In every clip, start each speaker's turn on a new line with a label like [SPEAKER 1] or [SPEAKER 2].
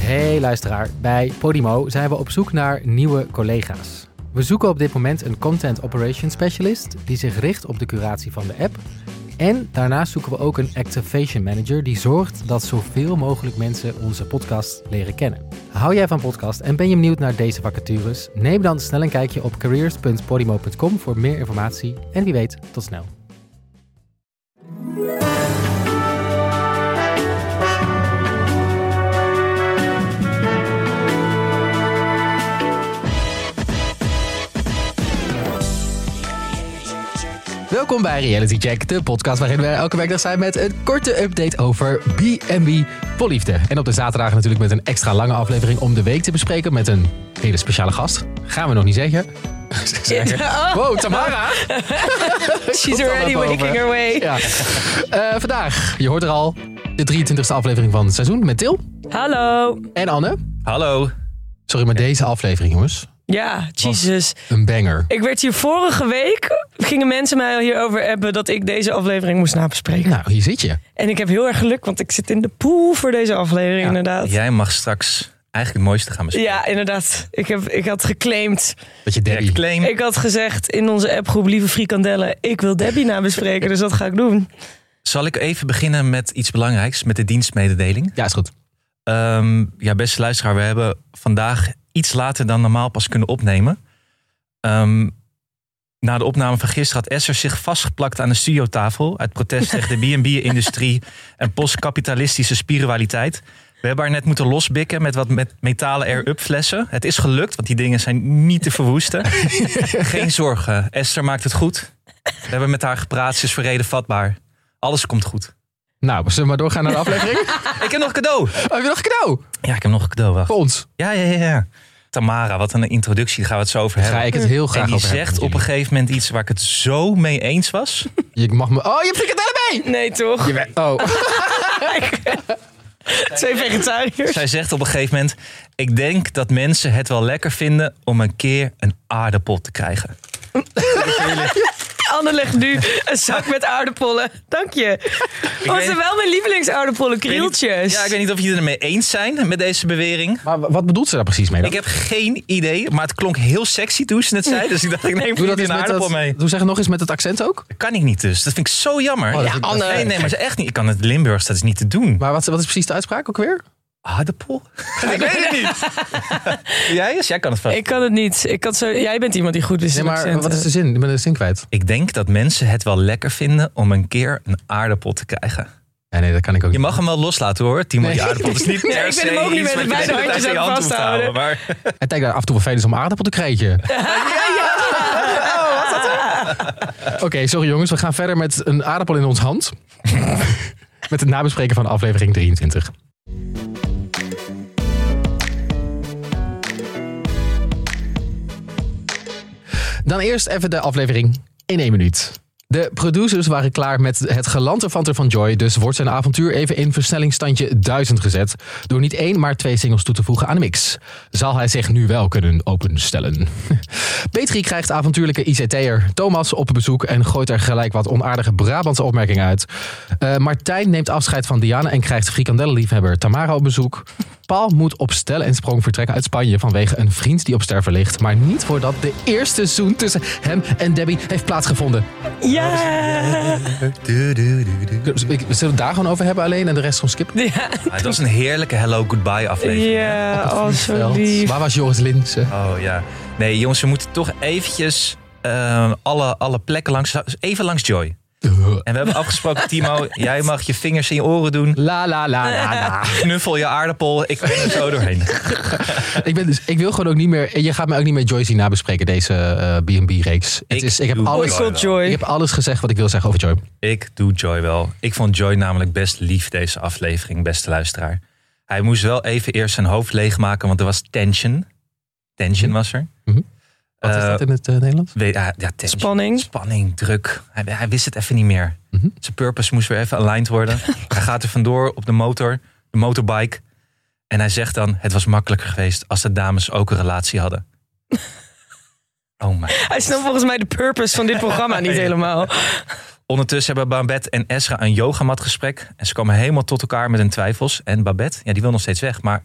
[SPEAKER 1] Hey luisteraar, bij Podimo zijn we op zoek naar nieuwe collega's. We zoeken op dit moment een Content Operations Specialist die zich richt op de curatie van de app. En daarnaast zoeken we ook een Activation Manager die zorgt dat zoveel mogelijk mensen onze podcast leren kennen. Hou jij van podcast en ben je benieuwd naar deze vacatures? Neem dan snel een kijkje op careers.podimo.com voor meer informatie en wie weet, tot snel. Welkom bij Reality Check, de podcast waarin we elke werkdag zijn met een korte update over B&B Polliefde. En op de zaterdagen natuurlijk met een extra lange aflevering om de week te bespreken met een hele speciale gast. Gaan we nog niet zeggen. zeggen.
[SPEAKER 2] Oh.
[SPEAKER 1] Wow, Tamara!
[SPEAKER 2] She's
[SPEAKER 1] Komt
[SPEAKER 2] already
[SPEAKER 1] allemaal boven.
[SPEAKER 2] making her way.
[SPEAKER 1] Ja. Eh, vandaag, je hoort er al, de 23e aflevering van het seizoen met Til
[SPEAKER 2] Hallo.
[SPEAKER 1] en Anne.
[SPEAKER 3] Hallo.
[SPEAKER 1] Sorry, maar deze aflevering jongens,
[SPEAKER 2] Ja, Jesus.
[SPEAKER 1] een banger.
[SPEAKER 2] Ik werd hier vorige week, gingen mensen mij hierover appen dat ik deze aflevering moest nabespreken.
[SPEAKER 1] Nou, hier zit je.
[SPEAKER 2] En ik heb heel erg geluk, want ik zit in de pool voor deze aflevering inderdaad. Ja.
[SPEAKER 3] Jij mag straks eigenlijk het mooiste gaan bespreken.
[SPEAKER 2] inderdaad. Ik, heb, ik had geclaimd.
[SPEAKER 1] Dat je
[SPEAKER 3] Direct
[SPEAKER 1] Debbie...
[SPEAKER 3] claim.
[SPEAKER 2] Ik had gezegd in onze appgroep, lieve frikandellen, ik wil Debbie nabespreken, dus dat ga ik doen.
[SPEAKER 3] Zal ik even beginnen met iets belangrijks, met de dienstmededeling?
[SPEAKER 1] Ja, is goed.
[SPEAKER 3] Ehm, ja, beste luisteraar, we hebben vandaag iets later dan normaal pas kunnen opnemen. Ehm, na de opname van gisteren had Esser zich vastgeplakt aan de studiotafel... uit protest tegen de B&B-industrie en postkapitalistische spiritualiteit. We hebben haar net moeten losbikken met wat met metalen air-up flessen. Het is gelukt, want die dingen zijn niet te verwoesten. Geen zorgen, Esther maakt het goed. We hebben met haar gepraat, ze is verreden vatbaar. Alles komt goed.
[SPEAKER 1] Nou, zullen we maar doorgaan naar de aflevering? Oh,
[SPEAKER 3] Ik heb nog een cadeau.
[SPEAKER 1] Heb je nog een cadeau
[SPEAKER 3] Ja, ik heb nog een cadeau, wacht.
[SPEAKER 1] voor ons?
[SPEAKER 3] Ja, ja, ja, ja. Tamara, wat een introductie. Daar gaan we het zo over
[SPEAKER 1] Ga
[SPEAKER 3] hebben.
[SPEAKER 1] ik het heel graag
[SPEAKER 3] en die
[SPEAKER 1] over hebben
[SPEAKER 3] zegt
[SPEAKER 1] met
[SPEAKER 3] op een
[SPEAKER 1] jullie.
[SPEAKER 3] gegeven moment iets waar ik het zo mee eens was.
[SPEAKER 1] Je mag me... Oh, je hebt frikandellen mee!
[SPEAKER 2] Nee, toch?
[SPEAKER 1] Je bent- Oh.
[SPEAKER 2] Twee vegetariërs.
[SPEAKER 3] Zij zegt op een gegeven moment... Ik denk dat mensen het wel lekker vinden om een keer een aardappel te krijgen.
[SPEAKER 2] Anne legt nu een zak met aardappelen. Dank je. Oh,
[SPEAKER 3] weet-
[SPEAKER 2] zijn wel mijn lievelingsaardappelen, krieltjes.
[SPEAKER 3] Ja, ik weet niet of jullie het ermee eens zijn met deze bewering.
[SPEAKER 1] Maar wa- wat bedoelt ze daar precies mee? dan?
[SPEAKER 3] Ik heb geen idee, maar het klonk heel sexy toen ze het zei. Dus ik dacht, ik neem
[SPEAKER 1] Doe dat eens
[SPEAKER 3] jullie
[SPEAKER 1] met
[SPEAKER 3] een
[SPEAKER 1] dat,
[SPEAKER 3] aardappel mee.
[SPEAKER 1] Doe zeg het nog eens met het accent ook.
[SPEAKER 3] Dat kan ik niet dus. Dat vind ik zo jammer.
[SPEAKER 1] Oh, dat
[SPEAKER 3] ja,
[SPEAKER 1] vind ik-
[SPEAKER 3] Anne.
[SPEAKER 1] dat vind
[SPEAKER 3] Nee,
[SPEAKER 1] ik
[SPEAKER 3] nee, maar ze echt niet. Ik kan het Limburgs, dat is niet te doen.
[SPEAKER 1] Maar wat, wat is precies de uitspraak ook weer?
[SPEAKER 3] Aardappel? ik weet het niet. Jij is? Jij kan het vast.
[SPEAKER 2] Ik kan het niet. Ik kan zo... Jij bent iemand die goed is
[SPEAKER 1] Nee,
[SPEAKER 2] in
[SPEAKER 1] maar
[SPEAKER 2] accenten.
[SPEAKER 1] wat is
[SPEAKER 3] eh?
[SPEAKER 1] de zin? Ik ben de zin kwijt.
[SPEAKER 3] Ik denk dat mensen het wel lekker vinden om een keer een aardappel te krijgen.
[SPEAKER 1] Ja, nee, dat kan ik ook
[SPEAKER 3] Je
[SPEAKER 1] niet.
[SPEAKER 3] mag hem wel loslaten hoor, Timo.
[SPEAKER 1] Nee.
[SPEAKER 3] Die aardappel Het is niet
[SPEAKER 2] Nee, ik
[SPEAKER 3] per
[SPEAKER 2] ben
[SPEAKER 3] se
[SPEAKER 2] hem ook niet
[SPEAKER 3] iets
[SPEAKER 2] met
[SPEAKER 3] wat je de
[SPEAKER 2] beide
[SPEAKER 3] hele
[SPEAKER 2] handjes
[SPEAKER 3] tijd
[SPEAKER 2] aan
[SPEAKER 3] in je hand hoeft te
[SPEAKER 2] vasthouden.
[SPEAKER 3] Maar
[SPEAKER 1] Het lijkt daar af en toe wel fijn is om aardappel te krijgen. Oh, Oké, sorry jongens. We gaan verder met een aardappel in ons hand. met het nabespreken van aflevering 23. Dan eerst even de aflevering in één minuut. De producers waren klaar met het gelanterfanter van Joy, dus wordt zijn avontuur even in versnellingsstandje 1000 gezet. Door niet één, maar twee singles toe te voegen aan de mix. Zal hij zich nu wel kunnen openstellen? Petri krijgt avontuurlijke ICT'er Thomas op bezoek en gooit er gelijk wat onaardige Brabantse opmerkingen uit. Eh, Martijn neemt afscheid van Diana en krijgt frikandellenliefhebber Tamara op bezoek. Paul moet op stel en sprong vertrekken uit Spanje vanwege een vriend die op sterven ligt. Maar niet voordat de eerste zoen tussen hem en Debbie heeft plaatsgevonden.
[SPEAKER 2] Ja.
[SPEAKER 1] Ik- Zullen we het daar gewoon over hebben alleen en de rest gewoon skippen?
[SPEAKER 2] Ja.
[SPEAKER 3] Ah, dat was een heerlijke Hello Goodbye aflevering.
[SPEAKER 2] Ja, oh, zo lief.
[SPEAKER 1] Waar was Joris Linsen?
[SPEAKER 3] Oh ja. Nee jongens, we moeten toch eventjes eh, alle, alle plekken langs, even langs Joy. En we hebben afgesproken, Timo, jij mag je vingers in je oren doen.
[SPEAKER 1] La la la la la.
[SPEAKER 3] Knuffel je aardappel, ik ben er zo doorheen.
[SPEAKER 1] Ik, ben dus, ik wil gewoon ook niet meer. Je gaat mij ook niet meer Joyce na bespreken deze eh, B&B-reeks. Het
[SPEAKER 3] Ik
[SPEAKER 1] is- ik, heb
[SPEAKER 3] doe
[SPEAKER 1] alles,
[SPEAKER 3] het.
[SPEAKER 2] Boycott
[SPEAKER 1] ik
[SPEAKER 2] Oh, Joy.
[SPEAKER 1] heb alles gezegd wat ik wil zeggen over Joy.
[SPEAKER 3] Ik doe Joy wel. Ik vond Joy namelijk best lief deze aflevering, beste luisteraar. Hij moest wel even eerst zijn hoofd leegmaken, want er was tension. Tension was er.
[SPEAKER 1] Mhm. Wat is
[SPEAKER 3] Eh,
[SPEAKER 1] dat in het eh, Nederlands?
[SPEAKER 3] weet- ah, ja, tension.
[SPEAKER 2] Spanning.
[SPEAKER 3] Spanning, druk. Hij, hij wist het even niet meer.
[SPEAKER 1] Mhm.
[SPEAKER 3] Zijn purpose moest weer even aligned worden. hij gaat er vandoor op de motor, de motorbike. En hij zegt dan, het was makkelijker geweest als de dames ook een relatie hadden. oh my
[SPEAKER 2] Hij snapt volgens mij de purpose van dit programma niet helemaal.
[SPEAKER 3] Ondertussen hebben Babette en Esra een yogamatgesprek. En ze komen helemaal tot elkaar met hun twijfels. En Babette, ja, die wil nog steeds weg. Maar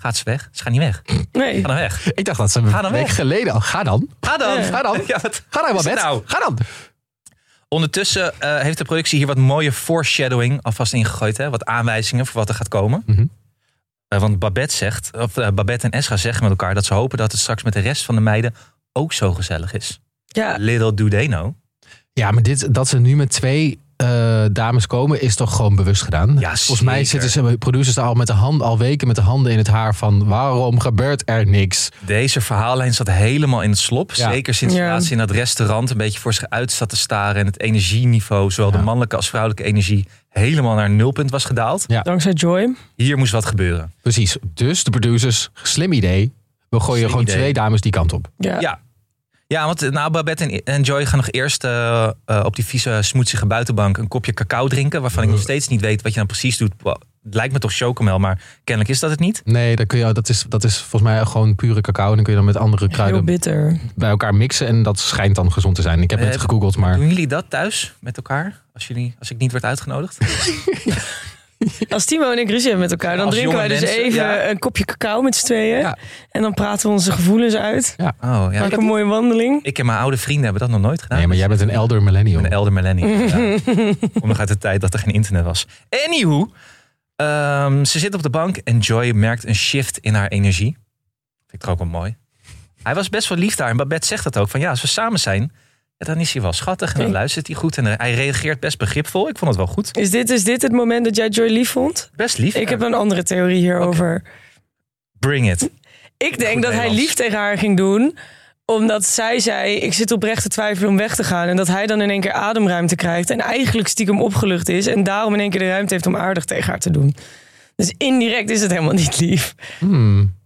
[SPEAKER 3] Gaat ze weg? Ze gaat niet weg.
[SPEAKER 2] Nee.
[SPEAKER 3] Ga dan weg.
[SPEAKER 1] Ik dacht dat ze een
[SPEAKER 3] Ga dan
[SPEAKER 1] week
[SPEAKER 3] weg.
[SPEAKER 1] geleden al. Ga dan.
[SPEAKER 3] Ga dan.
[SPEAKER 1] Ga dan.
[SPEAKER 3] Ja, wat-
[SPEAKER 1] Ga dan,
[SPEAKER 3] Is het
[SPEAKER 1] Babette.
[SPEAKER 3] nou?
[SPEAKER 1] Ga dan.
[SPEAKER 3] Ondertussen eh, heeft de productie hier wat mooie foreshadowing alvast ingegooid. Hè? Wat aanwijzingen voor wat er gaat komen.
[SPEAKER 1] Mhm.
[SPEAKER 3] Eh, want Babette, zegt, of, eh, Babette en Esra zeggen met elkaar dat ze hopen dat het straks met de rest van de meiden ook zo gezellig is.
[SPEAKER 2] Ja,
[SPEAKER 3] Little do they know.
[SPEAKER 1] Ja, maar dit, dat ze nu met twee eh, dames komen, is toch gewoon bewust gedaan?
[SPEAKER 3] Ja,
[SPEAKER 1] Volgens mij
[SPEAKER 3] zeker.
[SPEAKER 1] zitten ze producers daar al, met de hand, al weken met de handen in het haar van waarom gebeurt er niks?
[SPEAKER 3] Deze verhaallijn zat helemaal in het slop.
[SPEAKER 1] Ja.
[SPEAKER 3] Zeker sinds
[SPEAKER 2] Ja.
[SPEAKER 3] laatst in dat restaurant een beetje voor zich uit zat te staren. En het energieniveau, zowel
[SPEAKER 1] Ja.
[SPEAKER 3] de mannelijke als vrouwelijke energie, helemaal naar nulpunt was gedaald.
[SPEAKER 2] dankzij Joy.
[SPEAKER 3] Hier moest wat gebeuren.
[SPEAKER 1] Precies. Dus de producers, slim idee. We gooien
[SPEAKER 3] Slim
[SPEAKER 1] gewoon
[SPEAKER 3] idee.
[SPEAKER 1] twee dames die kant op.
[SPEAKER 2] Ja.
[SPEAKER 3] Ja. Ja, want eh, nou, Babette en- en Joy gaan nog eerst eh, eh, op die vieze, smoetsige buitenbank een kopje cacao drinken. Waarvan ik nog steeds niet weet wat je dan precies doet. Wel, Het lijkt me toch chocomel, maar kennelijk is dat het niet.
[SPEAKER 1] Nee, dan kun je, dat, is, dat is volgens mij gewoon pure cacao. En dan kun je dan met andere
[SPEAKER 2] Heel
[SPEAKER 1] kruiden
[SPEAKER 2] bitter.
[SPEAKER 1] bij elkaar mixen. En dat schijnt dan gezond te zijn. Ik heb
[SPEAKER 3] Eh,
[SPEAKER 1] het gegoogeld, maar
[SPEAKER 3] Doen jullie dat thuis met elkaar? Als, jullie, als ik niet werd uitgenodigd?
[SPEAKER 2] Als Timo en ik ruzie hebben met elkaar, dan
[SPEAKER 3] Als
[SPEAKER 2] drinken
[SPEAKER 3] jonge
[SPEAKER 2] wij dus
[SPEAKER 3] mensen,
[SPEAKER 2] even
[SPEAKER 3] ja.
[SPEAKER 2] een kopje cacao met z'n tweeën.
[SPEAKER 1] Ja.
[SPEAKER 2] En dan praten we onze gevoelens uit.
[SPEAKER 3] Oh ja.
[SPEAKER 2] Maak
[SPEAKER 3] Ik,
[SPEAKER 2] een mooie wandeling.
[SPEAKER 3] ik en mijn oude vrienden hebben dat nog nooit gedaan.
[SPEAKER 1] nee, maar jij bent een elder millennial.
[SPEAKER 3] Een elder millennial. ja. Om nog uit de tijd dat er geen internet was. Anywho, ehm, ze zit op de bank en Joy merkt een shift in haar energie. Vind ik toch ook wel mooi. Hij was best wel lief daar en Babette zegt dat ook. Van ja, als we samen zijn, ja, dan is hij wel schattig en dan
[SPEAKER 2] Nee.
[SPEAKER 3] luistert hij goed. En eh, hij reageert best begripvol. Ik vond het wel goed.
[SPEAKER 2] Is dit, is dit het moment dat jij Joy lief vond?
[SPEAKER 3] Best lief.
[SPEAKER 2] Ik heb een andere theorie hierover.
[SPEAKER 3] Bring it.
[SPEAKER 2] Ik denk
[SPEAKER 3] Goed
[SPEAKER 2] dat hij
[SPEAKER 3] Nederlands.
[SPEAKER 2] lief tegen haar ging doen omdat zij zei, ik zit oprecht te twijfelen om weg te gaan. En dat hij dan in één keer ademruimte krijgt. En eigenlijk stiekem opgelucht is. En daarom in één keer de ruimte heeft om aardig tegen haar te doen. Dus indirect is het helemaal niet lief.
[SPEAKER 1] Hmm.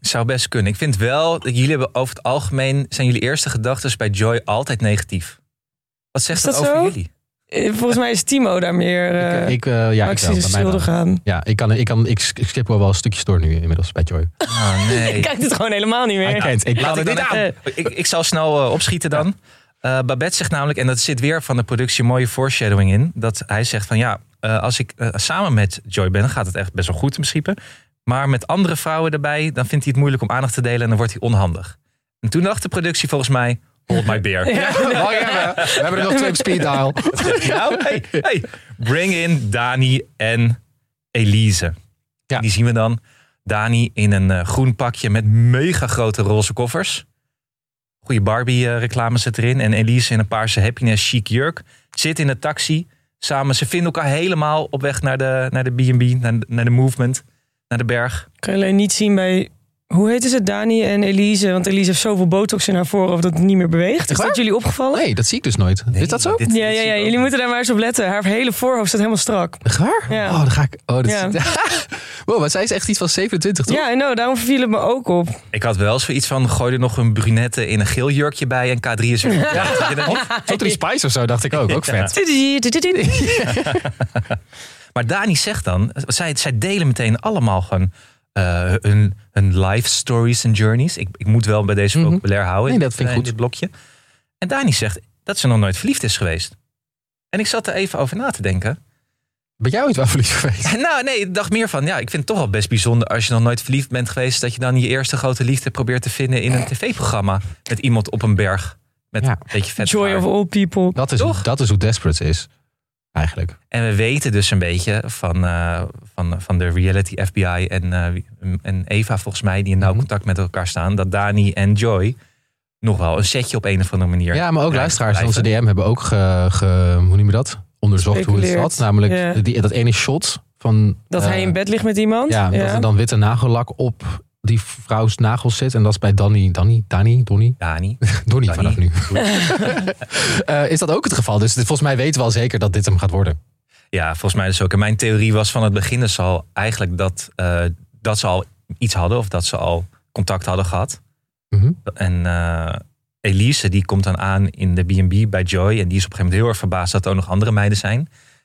[SPEAKER 3] Zou best kunnen. Ik vind wel, dat jullie hebben over het algemeen, zijn jullie eerste gedachten bij Joy altijd negatief. Wat zegt
[SPEAKER 2] Is
[SPEAKER 3] dat,
[SPEAKER 2] dat
[SPEAKER 3] over
[SPEAKER 2] zo?
[SPEAKER 3] jullie?
[SPEAKER 2] Eh, Volgens mij is Timo daar meer eh,
[SPEAKER 1] ik, eh, ja, ik
[SPEAKER 2] acties
[SPEAKER 1] wel, bij mij wel.
[SPEAKER 2] schuldig aan.
[SPEAKER 1] Ja, ik, kan, ik, kan, ik skip wel wel stukjes door nu inmiddels bij Joy.
[SPEAKER 3] Oh, nee.
[SPEAKER 2] Ik kijk dit gewoon helemaal niet
[SPEAKER 1] Hij
[SPEAKER 2] meer.
[SPEAKER 1] kent, ik
[SPEAKER 3] Laat
[SPEAKER 1] kan
[SPEAKER 3] ik,
[SPEAKER 1] het
[SPEAKER 3] dan
[SPEAKER 1] niet aan.
[SPEAKER 3] even- ik, ik zal snel eh, opschieten dan. Eh, Babette zegt namelijk, en dat zit weer van de productie een mooie foreshadowing in, dat hij zegt van ja, eh, als ik eh, samen met Joy ben, dan gaat het echt best wel goed in principe. Maar met andere vrouwen erbij, dan vindt hij het moeilijk om aandacht te delen en dan wordt hij onhandig. En toen dacht de productie volgens mij, hold my beer.
[SPEAKER 1] Lang hebben. We hebben er nog twee op speed dial.
[SPEAKER 3] Nou, hey, hey. Bring in Dani en Elise.
[SPEAKER 1] Ja.
[SPEAKER 3] Die zien we dan. Dani in een eh, groen pakje met mega grote roze koffers. Goede Barbie-reclame zit erin. En Elise in een paarse happiness chic jurk. Zit in de taxi. Samen, ze vinden elkaar helemaal op weg naar de B&B, naar de, B&B, naar, naar de movement, naar de berg.
[SPEAKER 2] Ik kan je alleen niet zien bij... Hoe heet ze? Dani en Elise. Want Elise heeft zoveel botox in haar voorhoofd dat het niet meer beweegt. Is
[SPEAKER 1] waar?
[SPEAKER 2] dat jullie opgevallen?
[SPEAKER 1] Nee, dat zie ik dus nooit. is dat zo?
[SPEAKER 2] Ja,
[SPEAKER 3] dit- dit
[SPEAKER 2] ja,
[SPEAKER 3] zie
[SPEAKER 2] ja,
[SPEAKER 3] ik ook
[SPEAKER 2] jullie
[SPEAKER 3] niet.
[SPEAKER 2] moeten daar maar eens op letten. Haar hele voorhoofd staat helemaal strak.
[SPEAKER 1] Echt waar?
[SPEAKER 2] Ja.
[SPEAKER 1] Oh, dan ga ik. Oh, dat
[SPEAKER 2] Ja.
[SPEAKER 1] is... wow, maar zij is echt iets van 27, toch?
[SPEAKER 2] Ja, nou, daarom viel het me ook op.
[SPEAKER 3] Ik had wel zoiets van, gooi er nog een brunette in een geel jurkje bij en K3 is weer. Ja. had je dat niet?
[SPEAKER 1] Zo drie Spice of zo, dacht ik ook. Ook vet.
[SPEAKER 3] Maar Dani zegt dan, zij, zij delen meteen allemaal gewoon eh, hun, hun life stories en journeys. Ik, ik moet wel bij deze
[SPEAKER 1] Mhm.
[SPEAKER 3] vocabulaire houden.
[SPEAKER 1] Nee, dat vind ik
[SPEAKER 3] in
[SPEAKER 1] goed.
[SPEAKER 3] Dit blokje. En Dani zegt dat ze nog nooit verliefd is geweest. En ik zat er even over na te denken.
[SPEAKER 1] Ben jij ooit wel verliefd geweest?
[SPEAKER 3] Nou, nee, ik dacht meer van, ja, ik vind het toch wel best bijzonder als je nog nooit verliefd bent geweest, dat je dan je eerste grote liefde probeert te vinden in een tv-programma met iemand op een berg met
[SPEAKER 1] Ja.
[SPEAKER 3] een beetje vet
[SPEAKER 2] Joy of
[SPEAKER 3] haar.
[SPEAKER 2] all people.
[SPEAKER 1] Dat is,
[SPEAKER 3] Toch?
[SPEAKER 1] dat is hoe desperate ze is. Eigenlijk.
[SPEAKER 3] En we weten dus een beetje van, eh, van, van de reality FBI en, eh, wie- en Eva volgens mij, die in nauw
[SPEAKER 1] Mhm.
[SPEAKER 3] contact met elkaar staan, dat Dani en Joy nog wel een setje op een of andere manier.
[SPEAKER 1] Ja, maar ook
[SPEAKER 3] Ja,
[SPEAKER 1] luisteraars in onze
[SPEAKER 3] blijven.
[SPEAKER 1] DM hebben ook, ge, ge- hoe noem je dat? Onderzocht hoe het
[SPEAKER 2] Speculeerd.
[SPEAKER 1] zat. Namelijk
[SPEAKER 2] Ja.
[SPEAKER 1] die, dat ene shot van...
[SPEAKER 2] Dat
[SPEAKER 1] eh,
[SPEAKER 2] hij in bed ligt met iemand.
[SPEAKER 1] Ja, dat er dan witte nagellak op die vrouws nagels zit. En dat is bij Danny, Danny, Danny, Donny,
[SPEAKER 3] Dani.
[SPEAKER 1] Donny
[SPEAKER 3] Danny.
[SPEAKER 1] vanaf nu. Nou, Eh, is dat ook het geval? Dus dit- volgens mij weten we al zeker dat dit hem gaat worden.
[SPEAKER 3] Ja, volgens mij dus ook. En mijn theorie was van het begin dus al eigenlijk dat, eh, dat ze al iets hadden of dat ze al contact hadden gehad.
[SPEAKER 1] Mhm.
[SPEAKER 3] En eh, Elise, die komt dan aan in de B&B bij Joy. En die is op een gegeven moment heel erg verbaasd dat er ook nog andere meiden zijn.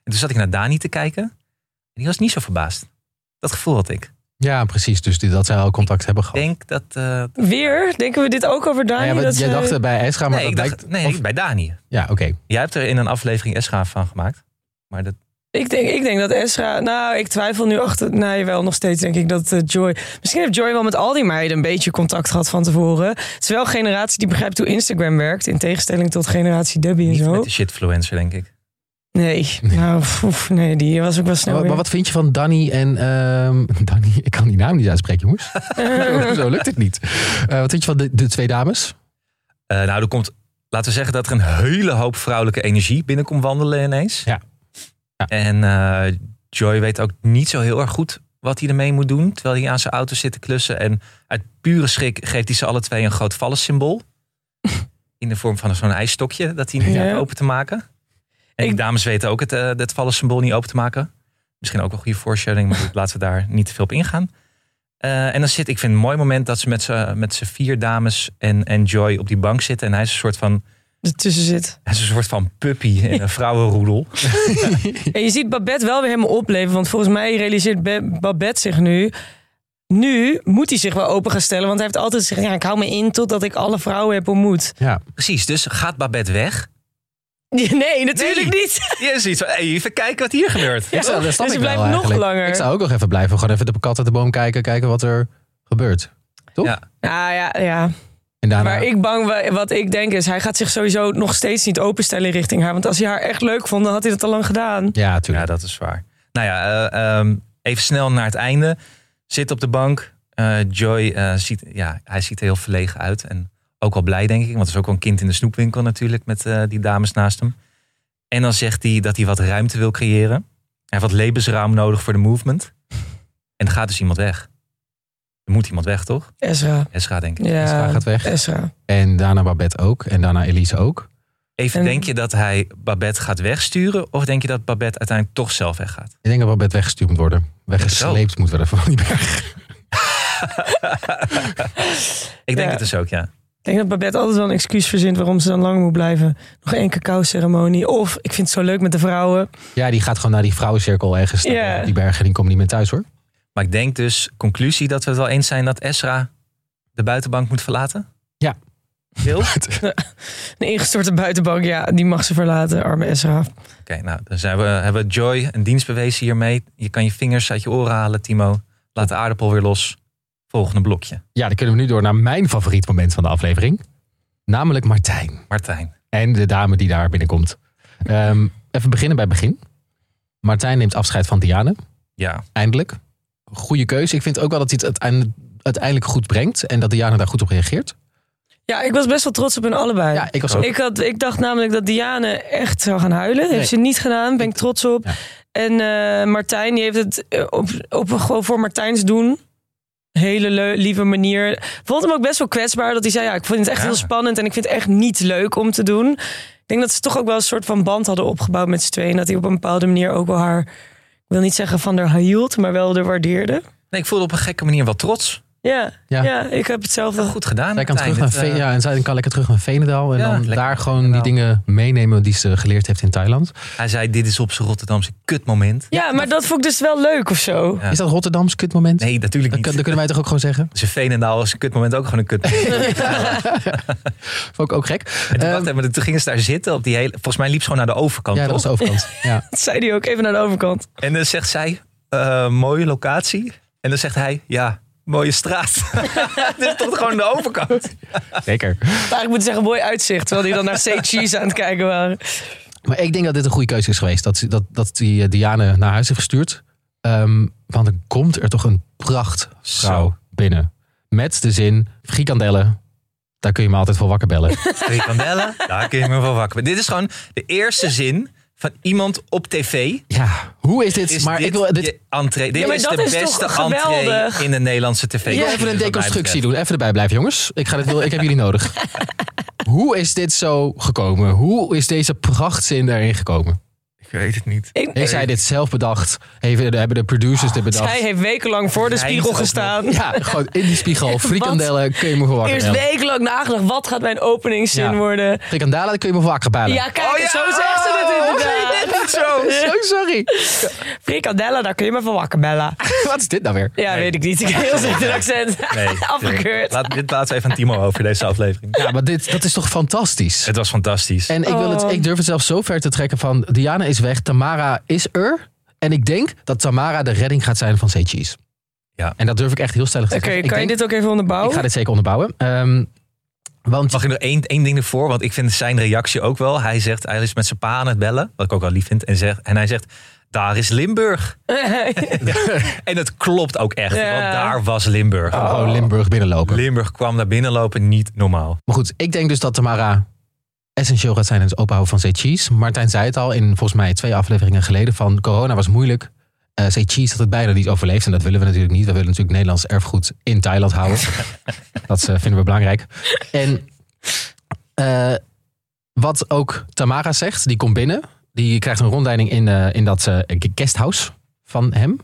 [SPEAKER 3] En toen zat ik naar Dani te kijken. En die was niet zo verbaasd. Dat gevoel had ik.
[SPEAKER 1] Ja, precies. Dus die, dat zij al contact hebben
[SPEAKER 3] Ik
[SPEAKER 1] gehad.
[SPEAKER 3] denk dat... eh,
[SPEAKER 2] Weer? Denken we dit ook over Dani?
[SPEAKER 1] Nou ja, want
[SPEAKER 2] dat
[SPEAKER 1] jij
[SPEAKER 2] ze-
[SPEAKER 1] dacht bij Esra, maar
[SPEAKER 3] nee, ik
[SPEAKER 1] dat
[SPEAKER 3] dacht,
[SPEAKER 1] blijkt-
[SPEAKER 3] nee
[SPEAKER 1] of-
[SPEAKER 3] bij Dani.
[SPEAKER 1] Ja, oké.
[SPEAKER 3] Jij hebt er in een aflevering Esra van gemaakt. Maar dat
[SPEAKER 2] Ik denk, ik denk dat Ezra... Nou, ik twijfel nu achter... Nee, wel nog steeds denk ik dat eh, Joy... Misschien heeft Joy wel met al die meiden een beetje contact gehad van tevoren. Het is wel een generatie die begrijpt hoe Instagram werkt. In tegenstelling tot generatie Debbie en
[SPEAKER 3] Niet
[SPEAKER 2] zo.
[SPEAKER 3] met de shitfluencer, denk ik.
[SPEAKER 2] Nee, nou, pff, nee, die was ook wel snel
[SPEAKER 1] maar, maar
[SPEAKER 2] weer.
[SPEAKER 1] wat vind je van Danny en... ehm, Danny, ik kan die naam niet uitspreken, jongens. zo, zo lukt het niet. Eh, wat vind je van de, de twee dames?
[SPEAKER 3] Eh, nou, er komt, laten we zeggen dat er een hele hoop vrouwelijke energie binnenkomt wandelen ineens.
[SPEAKER 1] Ja. Ja.
[SPEAKER 3] En eh, Joy weet ook niet zo heel erg goed wat hij ermee moet doen. Terwijl hij aan zijn auto zit te klussen. En uit pure schrik geeft hij ze alle twee een groot vallen-symbool. In de vorm van zo'n ijsstokje dat hij niet
[SPEAKER 2] Ja.
[SPEAKER 3] had open te maken. En die
[SPEAKER 2] Ik-
[SPEAKER 3] dames weten ook het, eh dat vallen-symbool niet open te maken. Misschien ook een goede voorstelling, maar goed, laten we daar niet te veel op ingaan. Eh, en dan zit, ik vind het een mooi moment dat ze met z'n met z'n vier dames en, en Joy op die bank zitten. En hij is een soort van,
[SPEAKER 2] ertussen zit.
[SPEAKER 3] hij is een soort van puppy in een vrouwenroedel.
[SPEAKER 2] En je ziet Babette wel weer helemaal opleven. Want volgens mij realiseert Be- Babette zich nu... Nu moet hij zich wel open gaan stellen. Want hij heeft altijd gezegd... Ja, ik hou me in totdat ik alle vrouwen heb ontmoet.
[SPEAKER 1] Ja.
[SPEAKER 3] Precies, dus gaat Babette weg?
[SPEAKER 2] Nee, natuurlijk
[SPEAKER 3] Nee.
[SPEAKER 2] niet.
[SPEAKER 3] Je ziet zo, hey, even kijken wat hier gebeurt.
[SPEAKER 1] Ik zou, dat snap
[SPEAKER 2] dus
[SPEAKER 1] ik
[SPEAKER 2] je
[SPEAKER 1] wel
[SPEAKER 2] blijft nog
[SPEAKER 1] eigenlijk.
[SPEAKER 2] langer.
[SPEAKER 1] Ik zou ook nog even blijven. Gewoon even de kat uit de boom kijken. Kijken wat er gebeurt.
[SPEAKER 2] Nou ja, ja.
[SPEAKER 1] En daarna...
[SPEAKER 2] Maar ik bang, wa- wat ik denk is... Hij gaat zich sowieso nog steeds niet openstellen richting haar. Want als hij haar echt leuk vond, dan had hij dat al lang gedaan.
[SPEAKER 1] Ja,
[SPEAKER 3] Ja,
[SPEAKER 1] tuurlijk.
[SPEAKER 3] dat is waar. Nou ja, eh, ehm, even snel naar het einde. Zit op de bank. Eh, Joy, eh, ziet, ja, hij ziet er heel verlegen uit. En ook wel blij, denk ik. Want het is ook wel een kind in de snoepwinkel natuurlijk. Met eh, die dames naast hem. En dan zegt hij dat hij wat ruimte wil creëren. Hij heeft wat levensruim nodig voor de movement. En er gaat dus iemand weg. Er moet iemand weg, toch?
[SPEAKER 2] Ezra.
[SPEAKER 3] Esra, denk ik.
[SPEAKER 2] Ja, Eh.
[SPEAKER 1] Ezra gaat weg.
[SPEAKER 2] Ezra.
[SPEAKER 1] En daarna Babette ook. En daarna Elise ook.
[SPEAKER 3] Even,
[SPEAKER 2] En-
[SPEAKER 3] denk je dat hij Babette gaat wegsturen? Of denk je dat Babette uiteindelijk toch zelf weggaat?
[SPEAKER 1] Ik denk dat Babette weggestuurd moet worden. Weggesleept moet worden van die berg.
[SPEAKER 3] Ik denk
[SPEAKER 2] Ja.
[SPEAKER 3] het dus ook, ja.
[SPEAKER 2] Ik denk dat Babette altijd wel een excuus verzint waarom ze dan lang moet blijven. Nog één cacao-ceremonie. Of, ik vind het zo leuk met de vrouwen.
[SPEAKER 1] Ja, die gaat gewoon naar die vrouwencirkel ergens.
[SPEAKER 2] Ja.
[SPEAKER 1] naar Die bergen, die komen niet meer thuis hoor.
[SPEAKER 3] Maar ik denk dus, conclusie, dat we het wel eens zijn dat Esra de buitenbank moet verlaten?
[SPEAKER 1] Ja.
[SPEAKER 3] Wil? Oké,
[SPEAKER 2] Een ingestorte buitenbank, ja, die mag ze verlaten, arme Ezra.
[SPEAKER 3] nou, dan zijn we, hebben we Joy een dienst bewezen hiermee. Je kan je vingers uit je oren halen, Timo. Laat de aardappel weer los. Volgende blokje.
[SPEAKER 1] Ja, dan kunnen we nu door naar mijn favoriet moment van de aflevering. Namelijk Martijn.
[SPEAKER 3] Martijn.
[SPEAKER 1] En de dame die daar binnenkomt. Ehm, even beginnen bij het begin. Martijn neemt afscheid van Diane.
[SPEAKER 3] Ja,
[SPEAKER 1] Eindelijk. Goede keuze. Ik vind ook wel dat hij het uiteindelijk, uiteindelijk goed brengt. En dat Diane daar goed op reageert.
[SPEAKER 2] Ja, ik was best wel trots op hun allebei.
[SPEAKER 1] Ja, ik was ook.
[SPEAKER 2] Ik, had, ik dacht namelijk dat Diane echt zou gaan huilen.
[SPEAKER 1] Nee.
[SPEAKER 2] Heeft ze niet gedaan, ben ik trots op.
[SPEAKER 1] Ja.
[SPEAKER 2] En eh, Martijn, die heeft het eh, op, op gewoon voor Martijns doen. Hele leu- lieve manier. Vond hem ook best wel kwetsbaar dat hij zei: Ja, ik vind het echt
[SPEAKER 3] Ja.
[SPEAKER 2] heel spannend en ik vind het echt niet leuk om te doen. Ik denk dat ze toch ook wel een soort van band hadden opgebouwd met z'n tweeën. En dat hij op een bepaalde manier ook wel haar, ik wil niet zeggen van haar hield, maar wel de waardeerde.
[SPEAKER 3] nee, ik voelde op een gekke manier wel trots.
[SPEAKER 2] Ja,
[SPEAKER 1] Ja.
[SPEAKER 2] ja. ik heb hetzelfde.
[SPEAKER 3] Goed gedaan.
[SPEAKER 1] Zij kan, terug naar
[SPEAKER 3] Martijn. Het,
[SPEAKER 1] Ve-
[SPEAKER 3] eh,
[SPEAKER 1] ja, en zij kan lekker terug naar Venendaal. En
[SPEAKER 3] Ja,
[SPEAKER 1] dan
[SPEAKER 3] lekker
[SPEAKER 1] daar
[SPEAKER 3] naar
[SPEAKER 1] gewoon die dingen meenemen die ze geleerd heeft in Thailand.
[SPEAKER 3] Hij zei, dit is op zijn Rotterdamse kutmoment.
[SPEAKER 2] Ja, maar dat vond ik dus wel leuk of zo.
[SPEAKER 3] Ja.
[SPEAKER 1] Is dat Rotterdams kutmoment?
[SPEAKER 3] Nee, natuurlijk
[SPEAKER 1] Dat,
[SPEAKER 3] niet.
[SPEAKER 1] kun- dat kunnen wij toch ook gewoon zeggen?
[SPEAKER 3] Zijn Veenendaal is een kutmoment ook gewoon een kutmoment.
[SPEAKER 1] Vond ik ook gek.
[SPEAKER 3] En toen,
[SPEAKER 1] Ehm,
[SPEAKER 3] dacht hij, "Oh." maar toen gingen ze daar zitten. Op die hele, volgens mij liep ze gewoon naar de overkant.
[SPEAKER 1] ja, dat
[SPEAKER 3] toch?
[SPEAKER 1] was de overkant. Ja.
[SPEAKER 2] Dat zei hij ook even naar de overkant.
[SPEAKER 3] En dan zegt zij, eh, mooie locatie. En dan zegt hij, ja, mooie straat. Dit is toch gewoon de overkant.
[SPEAKER 1] Zeker.
[SPEAKER 2] Eigenlijk moet ik zeggen, mooi uitzicht. Terwijl die dan naar Say Cheese aan het kijken waren.
[SPEAKER 1] Maar ik denk dat dit een goede keuze is geweest. Dat, ze- dat, dat die eh, Diane naar huis heeft gestuurd. Ehm, want dan komt er toch een prachtvrouw
[SPEAKER 3] Zo.
[SPEAKER 1] binnen. Met de zin, frikandellen, daar kun je me altijd voor wakker bellen.
[SPEAKER 3] Frikandellen, daar kun je me van wakker. Dit is gewoon de eerste zin van iemand op tv.
[SPEAKER 1] ja, hoe is dit?
[SPEAKER 3] Is
[SPEAKER 1] maar ik wil, dit,
[SPEAKER 3] je entree. Dit
[SPEAKER 2] Ja, maar
[SPEAKER 3] is
[SPEAKER 2] dat
[SPEAKER 3] de
[SPEAKER 2] is toch
[SPEAKER 3] beste
[SPEAKER 2] geweldig?
[SPEAKER 3] entree in de Nederlandse tv.
[SPEAKER 1] ik wil even een deconstructie doen. Even erbij blijven, jongens. Ik, ga dit, wel- ik heb jullie nodig. Hoe is dit zo gekomen? Hoe is deze prachtzin daarin gekomen?
[SPEAKER 3] Ik weet het niet.
[SPEAKER 2] Ik,
[SPEAKER 1] Heeft zij dit zelf bedacht? Heeft, hebben de producers dit bedacht?
[SPEAKER 2] Ah, zij heeft wekenlang voor de
[SPEAKER 3] Rijmt
[SPEAKER 2] spiegel
[SPEAKER 3] ook nog.
[SPEAKER 2] gestaan.
[SPEAKER 1] Ja, gewoon in die spiegel. Frikandellen, kun je me voor wakker
[SPEAKER 2] Eerst
[SPEAKER 1] bellen.
[SPEAKER 2] wekenlang nagedacht, wat gaat mijn openingszin
[SPEAKER 1] Ja.
[SPEAKER 2] worden?
[SPEAKER 1] Frikandellen, kun je me voor wakker bellen.
[SPEAKER 2] Ja, kijk,
[SPEAKER 3] Oh ja! Oh,
[SPEAKER 2] zo zegt ze
[SPEAKER 1] Oh.
[SPEAKER 2] het inderdaad.
[SPEAKER 3] Niet zo.
[SPEAKER 1] Zo sorry.
[SPEAKER 2] Frikandella, daar kun je me van wakker bellen.
[SPEAKER 1] Wat is dit nou weer?
[SPEAKER 2] Ja, weet ik niet. Ik heb heel slecht een accent. Afgekeurd.
[SPEAKER 3] Laat, dit laten we even aan Timo over deze aflevering.
[SPEAKER 1] Ja, maar dit, dat is toch fantastisch?
[SPEAKER 3] Het was fantastisch.
[SPEAKER 1] En ik, wil het,
[SPEAKER 2] Oh.
[SPEAKER 1] ik durf het zelfs zo ver te trekken van... Diana is weg. Tamara is er. En ik denk dat Tamara de redding gaat zijn van Seychis.
[SPEAKER 3] Ja.
[SPEAKER 1] En dat durf ik echt heel stellig te
[SPEAKER 2] Oké,
[SPEAKER 1] zeggen.
[SPEAKER 2] kan
[SPEAKER 1] ik,
[SPEAKER 2] je
[SPEAKER 1] denk-
[SPEAKER 2] dit ook even
[SPEAKER 1] ik
[SPEAKER 2] onderbouwen?
[SPEAKER 1] ga dit zeker onderbouwen. Ehm, want
[SPEAKER 3] Mag ik nog één, één ding ervoor? Want ik vind zijn reactie ook wel. Hij zegt, hij is met zijn pa aan het bellen. Wat ik ook wel lief vind. En, zegt, en hij zegt, daar is Limburg. En dat klopt ook echt.
[SPEAKER 2] Ja.
[SPEAKER 3] Want daar was Limburg.
[SPEAKER 1] gewoon
[SPEAKER 2] Oh.
[SPEAKER 1] Limburg binnenlopen.
[SPEAKER 3] Limburg kwam naar binnen lopen, niet normaal.
[SPEAKER 1] Maar goed, ik denk dus dat Tamara essentieel gaat zijn in het openhouden van Seychis. Martijn zei het al in volgens mij twee afleveringen geleden van corona was moeilijk. Eh Seychis had het bijna niet overleefd en dat willen we natuurlijk niet. We willen natuurlijk Nederlands erfgoed in Thailand houden. dat eh, vinden we belangrijk. En eh, wat ook Tamara zegt, die komt binnen. Die krijgt een rondleiding in, eh, in dat eh, guesthouse van hem.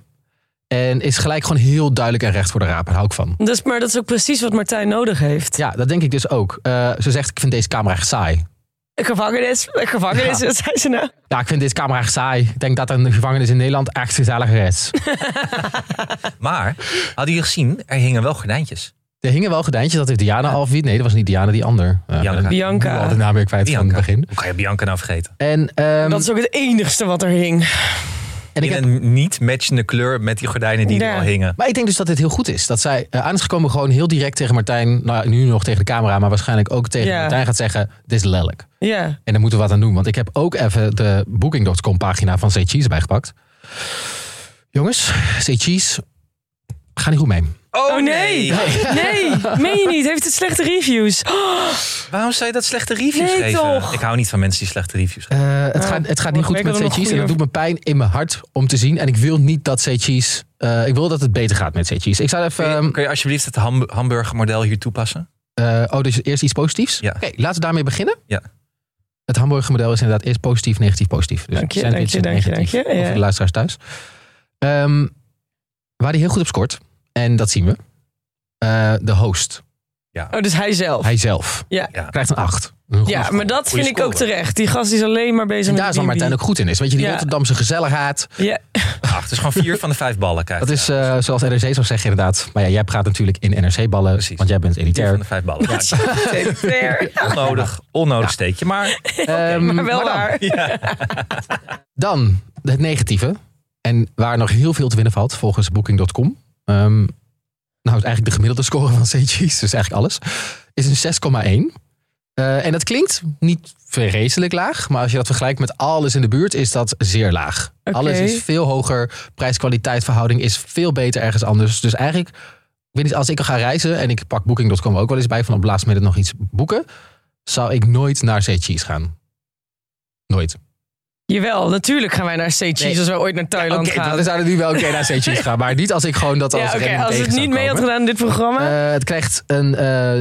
[SPEAKER 1] En is gelijk gewoon heel duidelijk en recht voor de raap. Daar hou ik van.
[SPEAKER 2] Dus, maar dat is ook precies wat Martijn nodig heeft.
[SPEAKER 1] Ja, dat denk ik dus ook. Eh, ze zegt, ik vind deze camera echt saai.
[SPEAKER 2] Gevangenis, gevangenis, wat zei ze nou?
[SPEAKER 1] Ja, ik vind dit camera echt saai. Ik denk dat een gevangenis in Nederland echt gezelliger is.
[SPEAKER 3] Maar, hadden jullie gezien, er hingen wel gordijntjes.
[SPEAKER 1] Er hingen wel gordijntjes, dat heeft Diana al verwiet. Nee, dat was niet Diana, die ander. Ja,
[SPEAKER 3] Bianca.
[SPEAKER 1] ik ben al de
[SPEAKER 2] Bianca.
[SPEAKER 1] naam weer kwijt
[SPEAKER 3] Bianca.
[SPEAKER 1] van het begin.
[SPEAKER 3] Hoe kan je Bianca nou vergeten?
[SPEAKER 1] En, ehm,
[SPEAKER 2] Dat is ook het enigste wat er hing.
[SPEAKER 1] en ik
[SPEAKER 3] In
[SPEAKER 1] heb,
[SPEAKER 3] een niet matchende kleur met die gordijnen die
[SPEAKER 2] Ja.
[SPEAKER 3] er al hingen.
[SPEAKER 1] maar ik denk dus dat dit heel goed is. Dat zij eh, aan is gekomen gewoon heel direct tegen Martijn. Nou, nu nog tegen de camera, maar waarschijnlijk ook tegen
[SPEAKER 2] Ja.
[SPEAKER 1] Martijn gaat zeggen... Dit is lelijk.
[SPEAKER 2] Ja.
[SPEAKER 1] En daar moeten we wat aan doen. Want ik heb ook even de Booking.com pagina van Say Cheese bijgepakt. Jongens, Say Cheese, ga niet goed mee.
[SPEAKER 2] Oh, nee. Nee, meen je niet? Heeft het slechte reviews? Oh,
[SPEAKER 3] Waarom zou je dat slechte reviews
[SPEAKER 2] Nee,
[SPEAKER 3] geven?
[SPEAKER 2] toch?
[SPEAKER 3] Ik hou niet van mensen die slechte reviews geven.
[SPEAKER 1] Eh, het, gaat,
[SPEAKER 2] Ja,
[SPEAKER 1] het gaat
[SPEAKER 2] vorige
[SPEAKER 1] niet goed
[SPEAKER 2] week
[SPEAKER 1] met
[SPEAKER 2] hadden we nog
[SPEAKER 1] C-Cheese. En dat
[SPEAKER 2] goede-
[SPEAKER 1] doet me pijn in mijn hart om te zien. En ik wil niet dat C-Cheese... eh, ik wil dat het beter gaat met C-Cheese. Ik zou even...
[SPEAKER 3] Kun je,
[SPEAKER 1] ehm,
[SPEAKER 3] kun je alsjeblieft het ham- hamburgermodel hier toepassen?
[SPEAKER 1] eh, oh, dus eerst iets positiefs?
[SPEAKER 3] Ja.
[SPEAKER 1] Oké, laten we daarmee beginnen.
[SPEAKER 3] Ja.
[SPEAKER 1] Het hamburgermodel is inderdaad eerst positief, negatief, positief. Dus
[SPEAKER 2] Dank je,
[SPEAKER 1] zijn
[SPEAKER 2] dank je,
[SPEAKER 1] iets
[SPEAKER 2] dank je,
[SPEAKER 1] negatief
[SPEAKER 2] dank je. Ja.
[SPEAKER 1] Voor de luisteraars thuis. Ehm, waar hij heel goed op scoort, en dat zien we, eh, de host,
[SPEAKER 2] dus hij zelf.
[SPEAKER 1] hij zelf,
[SPEAKER 2] Ja.
[SPEAKER 3] Ja.
[SPEAKER 1] krijgt een 8. Een goede
[SPEAKER 2] Ja,
[SPEAKER 1] score.
[SPEAKER 2] maar dat
[SPEAKER 3] Goeie
[SPEAKER 2] vind ik ook
[SPEAKER 3] score.
[SPEAKER 2] terecht. Die gast is alleen maar bezig
[SPEAKER 1] En
[SPEAKER 2] met
[SPEAKER 1] daar is waar
[SPEAKER 2] Bibi.
[SPEAKER 1] Martijn ook goed in is. Weet je, die
[SPEAKER 2] Ja.
[SPEAKER 1] Rotterdamse gezelligheid.
[SPEAKER 2] Ja,
[SPEAKER 3] Ach, dus gewoon vier van de vijf ballen krijgt.
[SPEAKER 1] Dat
[SPEAKER 3] hij.
[SPEAKER 1] is eh, zoals NRC zou zeggen, inderdaad. Maar ja, jij praat natuurlijk in NRC-ballen,
[SPEAKER 3] Precies.
[SPEAKER 1] want jij bent
[SPEAKER 3] vier van de
[SPEAKER 1] elitair.
[SPEAKER 3] vijf ballen. Ja,
[SPEAKER 2] fair.
[SPEAKER 3] onnodig, onnodig steekje. Maar
[SPEAKER 1] Ehm,
[SPEAKER 2] Maar wel
[SPEAKER 1] dan,
[SPEAKER 2] waar.
[SPEAKER 1] Dan het negatieve. En waar nog heel veel te winnen valt, volgens Booking.com. Ehm, nou, is eigenlijk de gemiddelde score van CG's, dus eigenlijk alles. Is een 6,1. Eh, en dat klinkt niet vreselijk laag. Maar als je dat vergelijkt met alles in de buurt, is dat zeer laag.
[SPEAKER 2] Oké.
[SPEAKER 1] Alles is veel hoger. Prijs-kwaliteit verhouding is veel beter ergens anders. Dus eigenlijk, ik weet niet, als ik ga reizen... en ik pak Booking.com ook wel eens bij... van op laatst midden nog iets boeken... zou ik nooit naar CG's gaan. Nooit.
[SPEAKER 2] Jawel, natuurlijk gaan wij naar C-Cheese
[SPEAKER 1] Nee.
[SPEAKER 2] als we ooit naar Thailand
[SPEAKER 1] Oké,
[SPEAKER 2] gaan.
[SPEAKER 1] dan zouden we nu wel oké naar Seychelles gaan. Maar niet als ik gewoon dat als
[SPEAKER 2] ja, oké,
[SPEAKER 1] redding
[SPEAKER 2] als
[SPEAKER 1] tegen
[SPEAKER 2] het
[SPEAKER 1] zou
[SPEAKER 2] niet mee had
[SPEAKER 1] komen.
[SPEAKER 2] gedaan in dit programma.
[SPEAKER 1] Eh, het krijgt een eh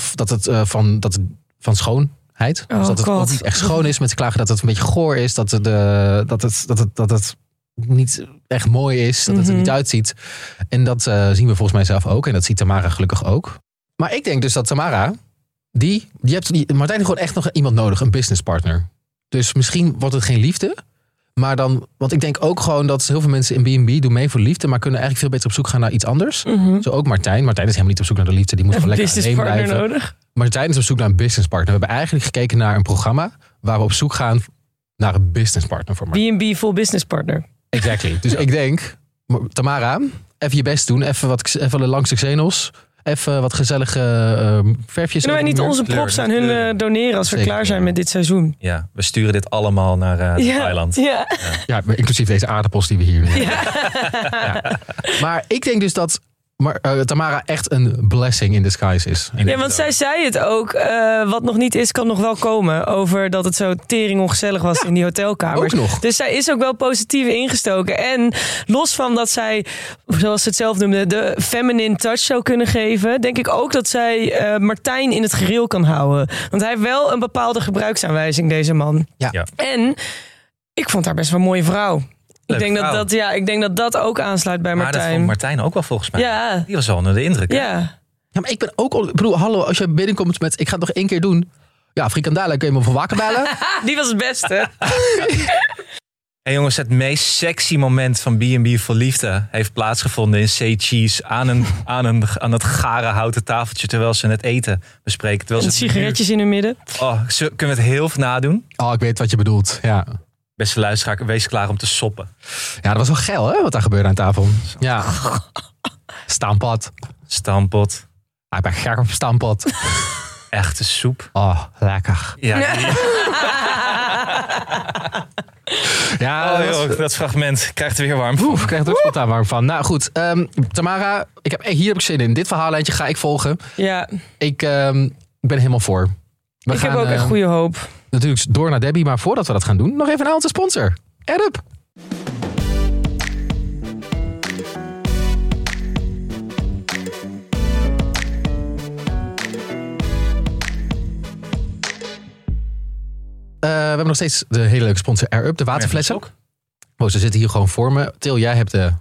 [SPEAKER 1] 6,5 dat het, eh, van, dat het van schoonheid.
[SPEAKER 2] Oh,
[SPEAKER 1] dus dat het ook
[SPEAKER 2] God.
[SPEAKER 1] niet echt schoon is. Mensen klagen dat het een beetje goor is. Dat het, eh, dat het, dat het, dat het niet echt mooi is. Dat het er
[SPEAKER 2] Mhm.
[SPEAKER 1] niet uitziet. En dat eh, zien we volgens mij zelf ook. En dat ziet Tamara gelukkig ook. Maar ik denk dus dat Tamara... Die, je hebt die, Martijn heeft gewoon echt nog iemand nodig. Een businesspartner. Dus misschien wordt het geen liefde. Maar dan, want ik denk ook gewoon dat heel veel mensen in B&B doen mee voor liefde, maar kunnen eigenlijk veel beter op zoek gaan naar iets anders.
[SPEAKER 2] Mhm.
[SPEAKER 1] Zo ook Martijn. Martijn is helemaal niet op zoek naar de liefde. Die moet gewoon
[SPEAKER 2] Een
[SPEAKER 1] lekker Eh, alleen
[SPEAKER 2] businesspartner
[SPEAKER 1] blijven.
[SPEAKER 2] nodig.
[SPEAKER 1] Martijn is op zoek naar een businesspartner. We hebben eigenlijk gekeken naar een programma waar we op zoek gaan naar een businesspartner voor Martijn.
[SPEAKER 2] B&B full businesspartner.
[SPEAKER 1] Exactly. Dus ik denk, Ma- Tamara, even je best doen. Even, wat, even langs de xenos. Even wat gezellige eh, verfjes.
[SPEAKER 2] Kunnen wij
[SPEAKER 1] over
[SPEAKER 2] niet
[SPEAKER 1] de muur.
[SPEAKER 2] onze
[SPEAKER 3] kleur,
[SPEAKER 2] props
[SPEAKER 3] met
[SPEAKER 2] aan hun
[SPEAKER 3] kleuren.
[SPEAKER 2] eh, doneren als we
[SPEAKER 1] Zeker,
[SPEAKER 2] klaar zijn
[SPEAKER 1] ja.
[SPEAKER 2] met dit seizoen?
[SPEAKER 3] ja, we sturen dit allemaal naar eh,
[SPEAKER 2] Ja,
[SPEAKER 3] Thailand.
[SPEAKER 2] Ja.
[SPEAKER 1] Ja, maar inclusief deze aardappels die we hier nu hebben. Ja. Maar ik denk dus dat maar, eh, Tamara echt een blessing in disguise is.
[SPEAKER 2] ja, want zij zei het ook. eh, wat nog niet is, kan nog wel komen. Over dat het zo tering ongezellig was in die hotelkamers.
[SPEAKER 1] Ook nog.
[SPEAKER 2] Dus zij is ook wel positief ingestoken. En los van dat zij, zoals ze het zelf noemde, de feminine touch zou kunnen geven. Denk ik ook dat zij eh, Martijn in het gereel kan houden. Want hij heeft wel een bepaalde gebruiksaanwijzing, deze man.
[SPEAKER 1] Ja.
[SPEAKER 3] Ja.
[SPEAKER 2] En ik vond haar best wel een mooie vrouw.
[SPEAKER 3] Leuke
[SPEAKER 2] ik, denk
[SPEAKER 3] vrouw.
[SPEAKER 2] Dat, dat, ja, ik denk dat dat ook aansluit bij
[SPEAKER 3] Maar dat
[SPEAKER 2] Martijn.
[SPEAKER 3] vond Martijn ook wel volgens mij.
[SPEAKER 2] Ja.
[SPEAKER 3] Die was wel onder de indruk. hè?
[SPEAKER 2] Ja,
[SPEAKER 1] Ja, maar ik ben ook... on- Ik bedoel, hallo, als je binnenkomt met... Ik ga het nog één keer doen. Ja, frikandalen, kun je me van wakker bellen?
[SPEAKER 2] die was het beste.
[SPEAKER 3] Hey jongens, het meest sexy moment van B&B voor Liefde heeft plaatsgevonden in C. Cheese aan, een, aan, een, aan dat gare houten tafeltje terwijl ze het eten bespreken. Terwijl
[SPEAKER 2] Met
[SPEAKER 3] ze het menu-
[SPEAKER 2] sigaretjes in hun midden.
[SPEAKER 3] Oh, ze- kunnen we het heel veel nadoen?
[SPEAKER 1] Oh, ik weet wat je bedoelt. Ja.
[SPEAKER 3] Beste luisteraar, wees klaar om te soppen.
[SPEAKER 1] Ja, dat was wel geil, hè? Wat daar gebeurde aan tafel. Ja. Staampot.
[SPEAKER 3] Stampot.
[SPEAKER 1] Ah, ik ben gek op staampot.
[SPEAKER 3] Echte soep.
[SPEAKER 1] Oh, lekker.
[SPEAKER 3] Ja,
[SPEAKER 1] Ja,
[SPEAKER 3] Oh,
[SPEAKER 1] dat was-
[SPEAKER 3] joh, dat fragment krijgt weer warm.
[SPEAKER 1] Oeh, ik krijg er ook spontaan warm van. Nou goed, ehm, Tamara, ik heb, eh, hier heb ik zin in. Dit verhaallijntje ga ik volgen.
[SPEAKER 2] Ja,
[SPEAKER 1] Ik, ehm, ik ben helemaal voor. We
[SPEAKER 2] ik
[SPEAKER 1] gaan,
[SPEAKER 2] heb ook echt
[SPEAKER 1] ehm,
[SPEAKER 2] goede hoop.
[SPEAKER 1] natuurlijk door naar Debbie. Maar voordat we dat gaan doen, nog even een aantal sponsor. Add up. Eh, we hebben nog steeds de hele leuke sponsor Air Up, de waterflessen.
[SPEAKER 3] ook?
[SPEAKER 1] Oh, ze zitten hier gewoon voor me. Til, jij hebt de,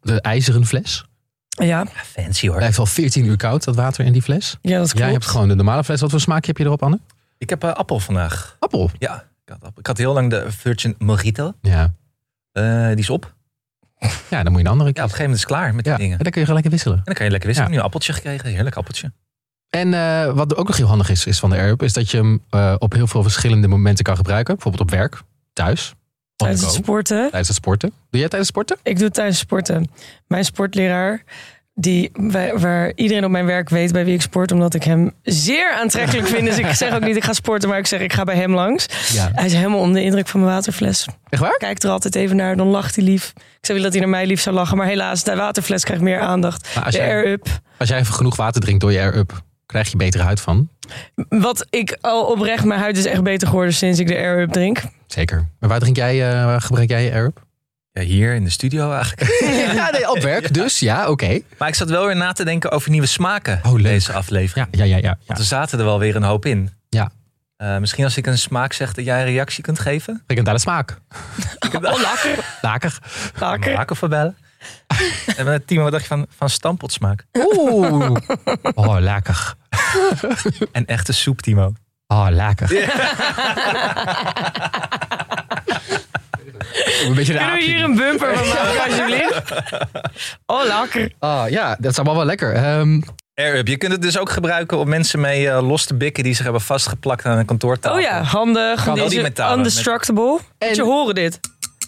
[SPEAKER 1] de ijzeren fles.
[SPEAKER 2] Ja,
[SPEAKER 3] Ja, fancy hoor.
[SPEAKER 1] Blijft al 14 uur koud, dat water in die fles.
[SPEAKER 2] ja dat klopt.
[SPEAKER 1] Jij hebt gewoon de normale fles. Wat voor smaak heb je erop, Anne?
[SPEAKER 3] Ik heb eh, appel vandaag.
[SPEAKER 1] Appel.
[SPEAKER 3] Ja, ik had, appel. ik had heel lang de Virgin Mojito.
[SPEAKER 1] Ja.
[SPEAKER 3] Eh, die is op. Ja, op
[SPEAKER 1] Ja, dan moet je een andere
[SPEAKER 3] een gegeven moment is het klaar met die
[SPEAKER 1] Ja,
[SPEAKER 3] dingen.
[SPEAKER 1] en dan kun je gelijk wisselen.
[SPEAKER 3] En dan kan je lekker wisselen.
[SPEAKER 1] Ja.
[SPEAKER 3] Nu een appeltje gekregen. Heerlijk appeltje.
[SPEAKER 1] En eh, wat ook nog heel handig is, is van de Airup, is dat je hem eh, op heel veel verschillende momenten kan gebruiken. Bijvoorbeeld op werk, thuis, on
[SPEAKER 2] Tijdens
[SPEAKER 1] the
[SPEAKER 2] het
[SPEAKER 1] go,
[SPEAKER 2] sporten.
[SPEAKER 1] tijdens het sporten. Doe jij tijdens het sporten?
[SPEAKER 2] Ik doe het tijdens sporten. Mijn sportleraar, die, waar, waar iedereen op mijn werk weet bij wie ik sport, omdat ik hem zeer aantrekkelijk vind. Dus ik zeg ook niet ik ga sporten, maar ik zeg ik ga bij hem langs.
[SPEAKER 1] Ja.
[SPEAKER 2] Hij is helemaal onder de indruk van mijn waterfles.
[SPEAKER 1] Echt waar?
[SPEAKER 2] Kijkt er altijd even naar, dan lacht hij lief. Ik zou willen dat hij naar mij lief zou lachen, maar helaas, de waterfles krijgt meer aandacht.
[SPEAKER 1] Maar als,
[SPEAKER 2] De
[SPEAKER 1] jij,
[SPEAKER 2] air-up.
[SPEAKER 1] als jij even genoeg water drinkt door je Airup, krijg je betere huid van.
[SPEAKER 2] Wat ik al oprecht, mijn huid is echt beter geworden sinds ik de air-up drink.
[SPEAKER 1] Zeker. Maar waar drink jij, eh, waar gebruik jij je Airup?
[SPEAKER 3] Ja, hier in de studio eigenlijk.
[SPEAKER 1] ja, nee, op werk dus. Ja, oké.
[SPEAKER 3] maar ik zat wel weer na te denken over nieuwe smaken.
[SPEAKER 1] Oh, leuk.
[SPEAKER 3] Deze aflevering.
[SPEAKER 1] Ja, ja, ja, ja, ja.
[SPEAKER 3] Want er zaten er wel weer een hoop in.
[SPEAKER 1] Ja.
[SPEAKER 3] Eh, misschien als ik een smaak zeg dat jij een reactie kunt geven.
[SPEAKER 1] Frikandelle smaak.
[SPEAKER 3] Ik heb oh, lekker.
[SPEAKER 1] Laker.
[SPEAKER 2] Vaker.
[SPEAKER 3] Laken voor bellen. en met Timo, wat dacht je van, van stampotsmaak?
[SPEAKER 1] Oeh. Oh, lekker.
[SPEAKER 3] En echte soep, Timo.
[SPEAKER 1] Oh, lekker. een beetje de
[SPEAKER 2] Kunnen we
[SPEAKER 1] aapje.
[SPEAKER 2] hier een bumper van maken, alsjeblieft? Oh, lekker.
[SPEAKER 1] Ah, ja, dat is allemaal wel lekker. Ehm,
[SPEAKER 3] Air-up. Je kunt het dus ook gebruiken om mensen mee eh, los te bikken die zich hebben vastgeplakt aan een kantoortafel.
[SPEAKER 2] Oh ja, handig.
[SPEAKER 3] Kan wel
[SPEAKER 2] Deze
[SPEAKER 3] die metalen met-
[SPEAKER 2] Undestructible. Moet je horen dit.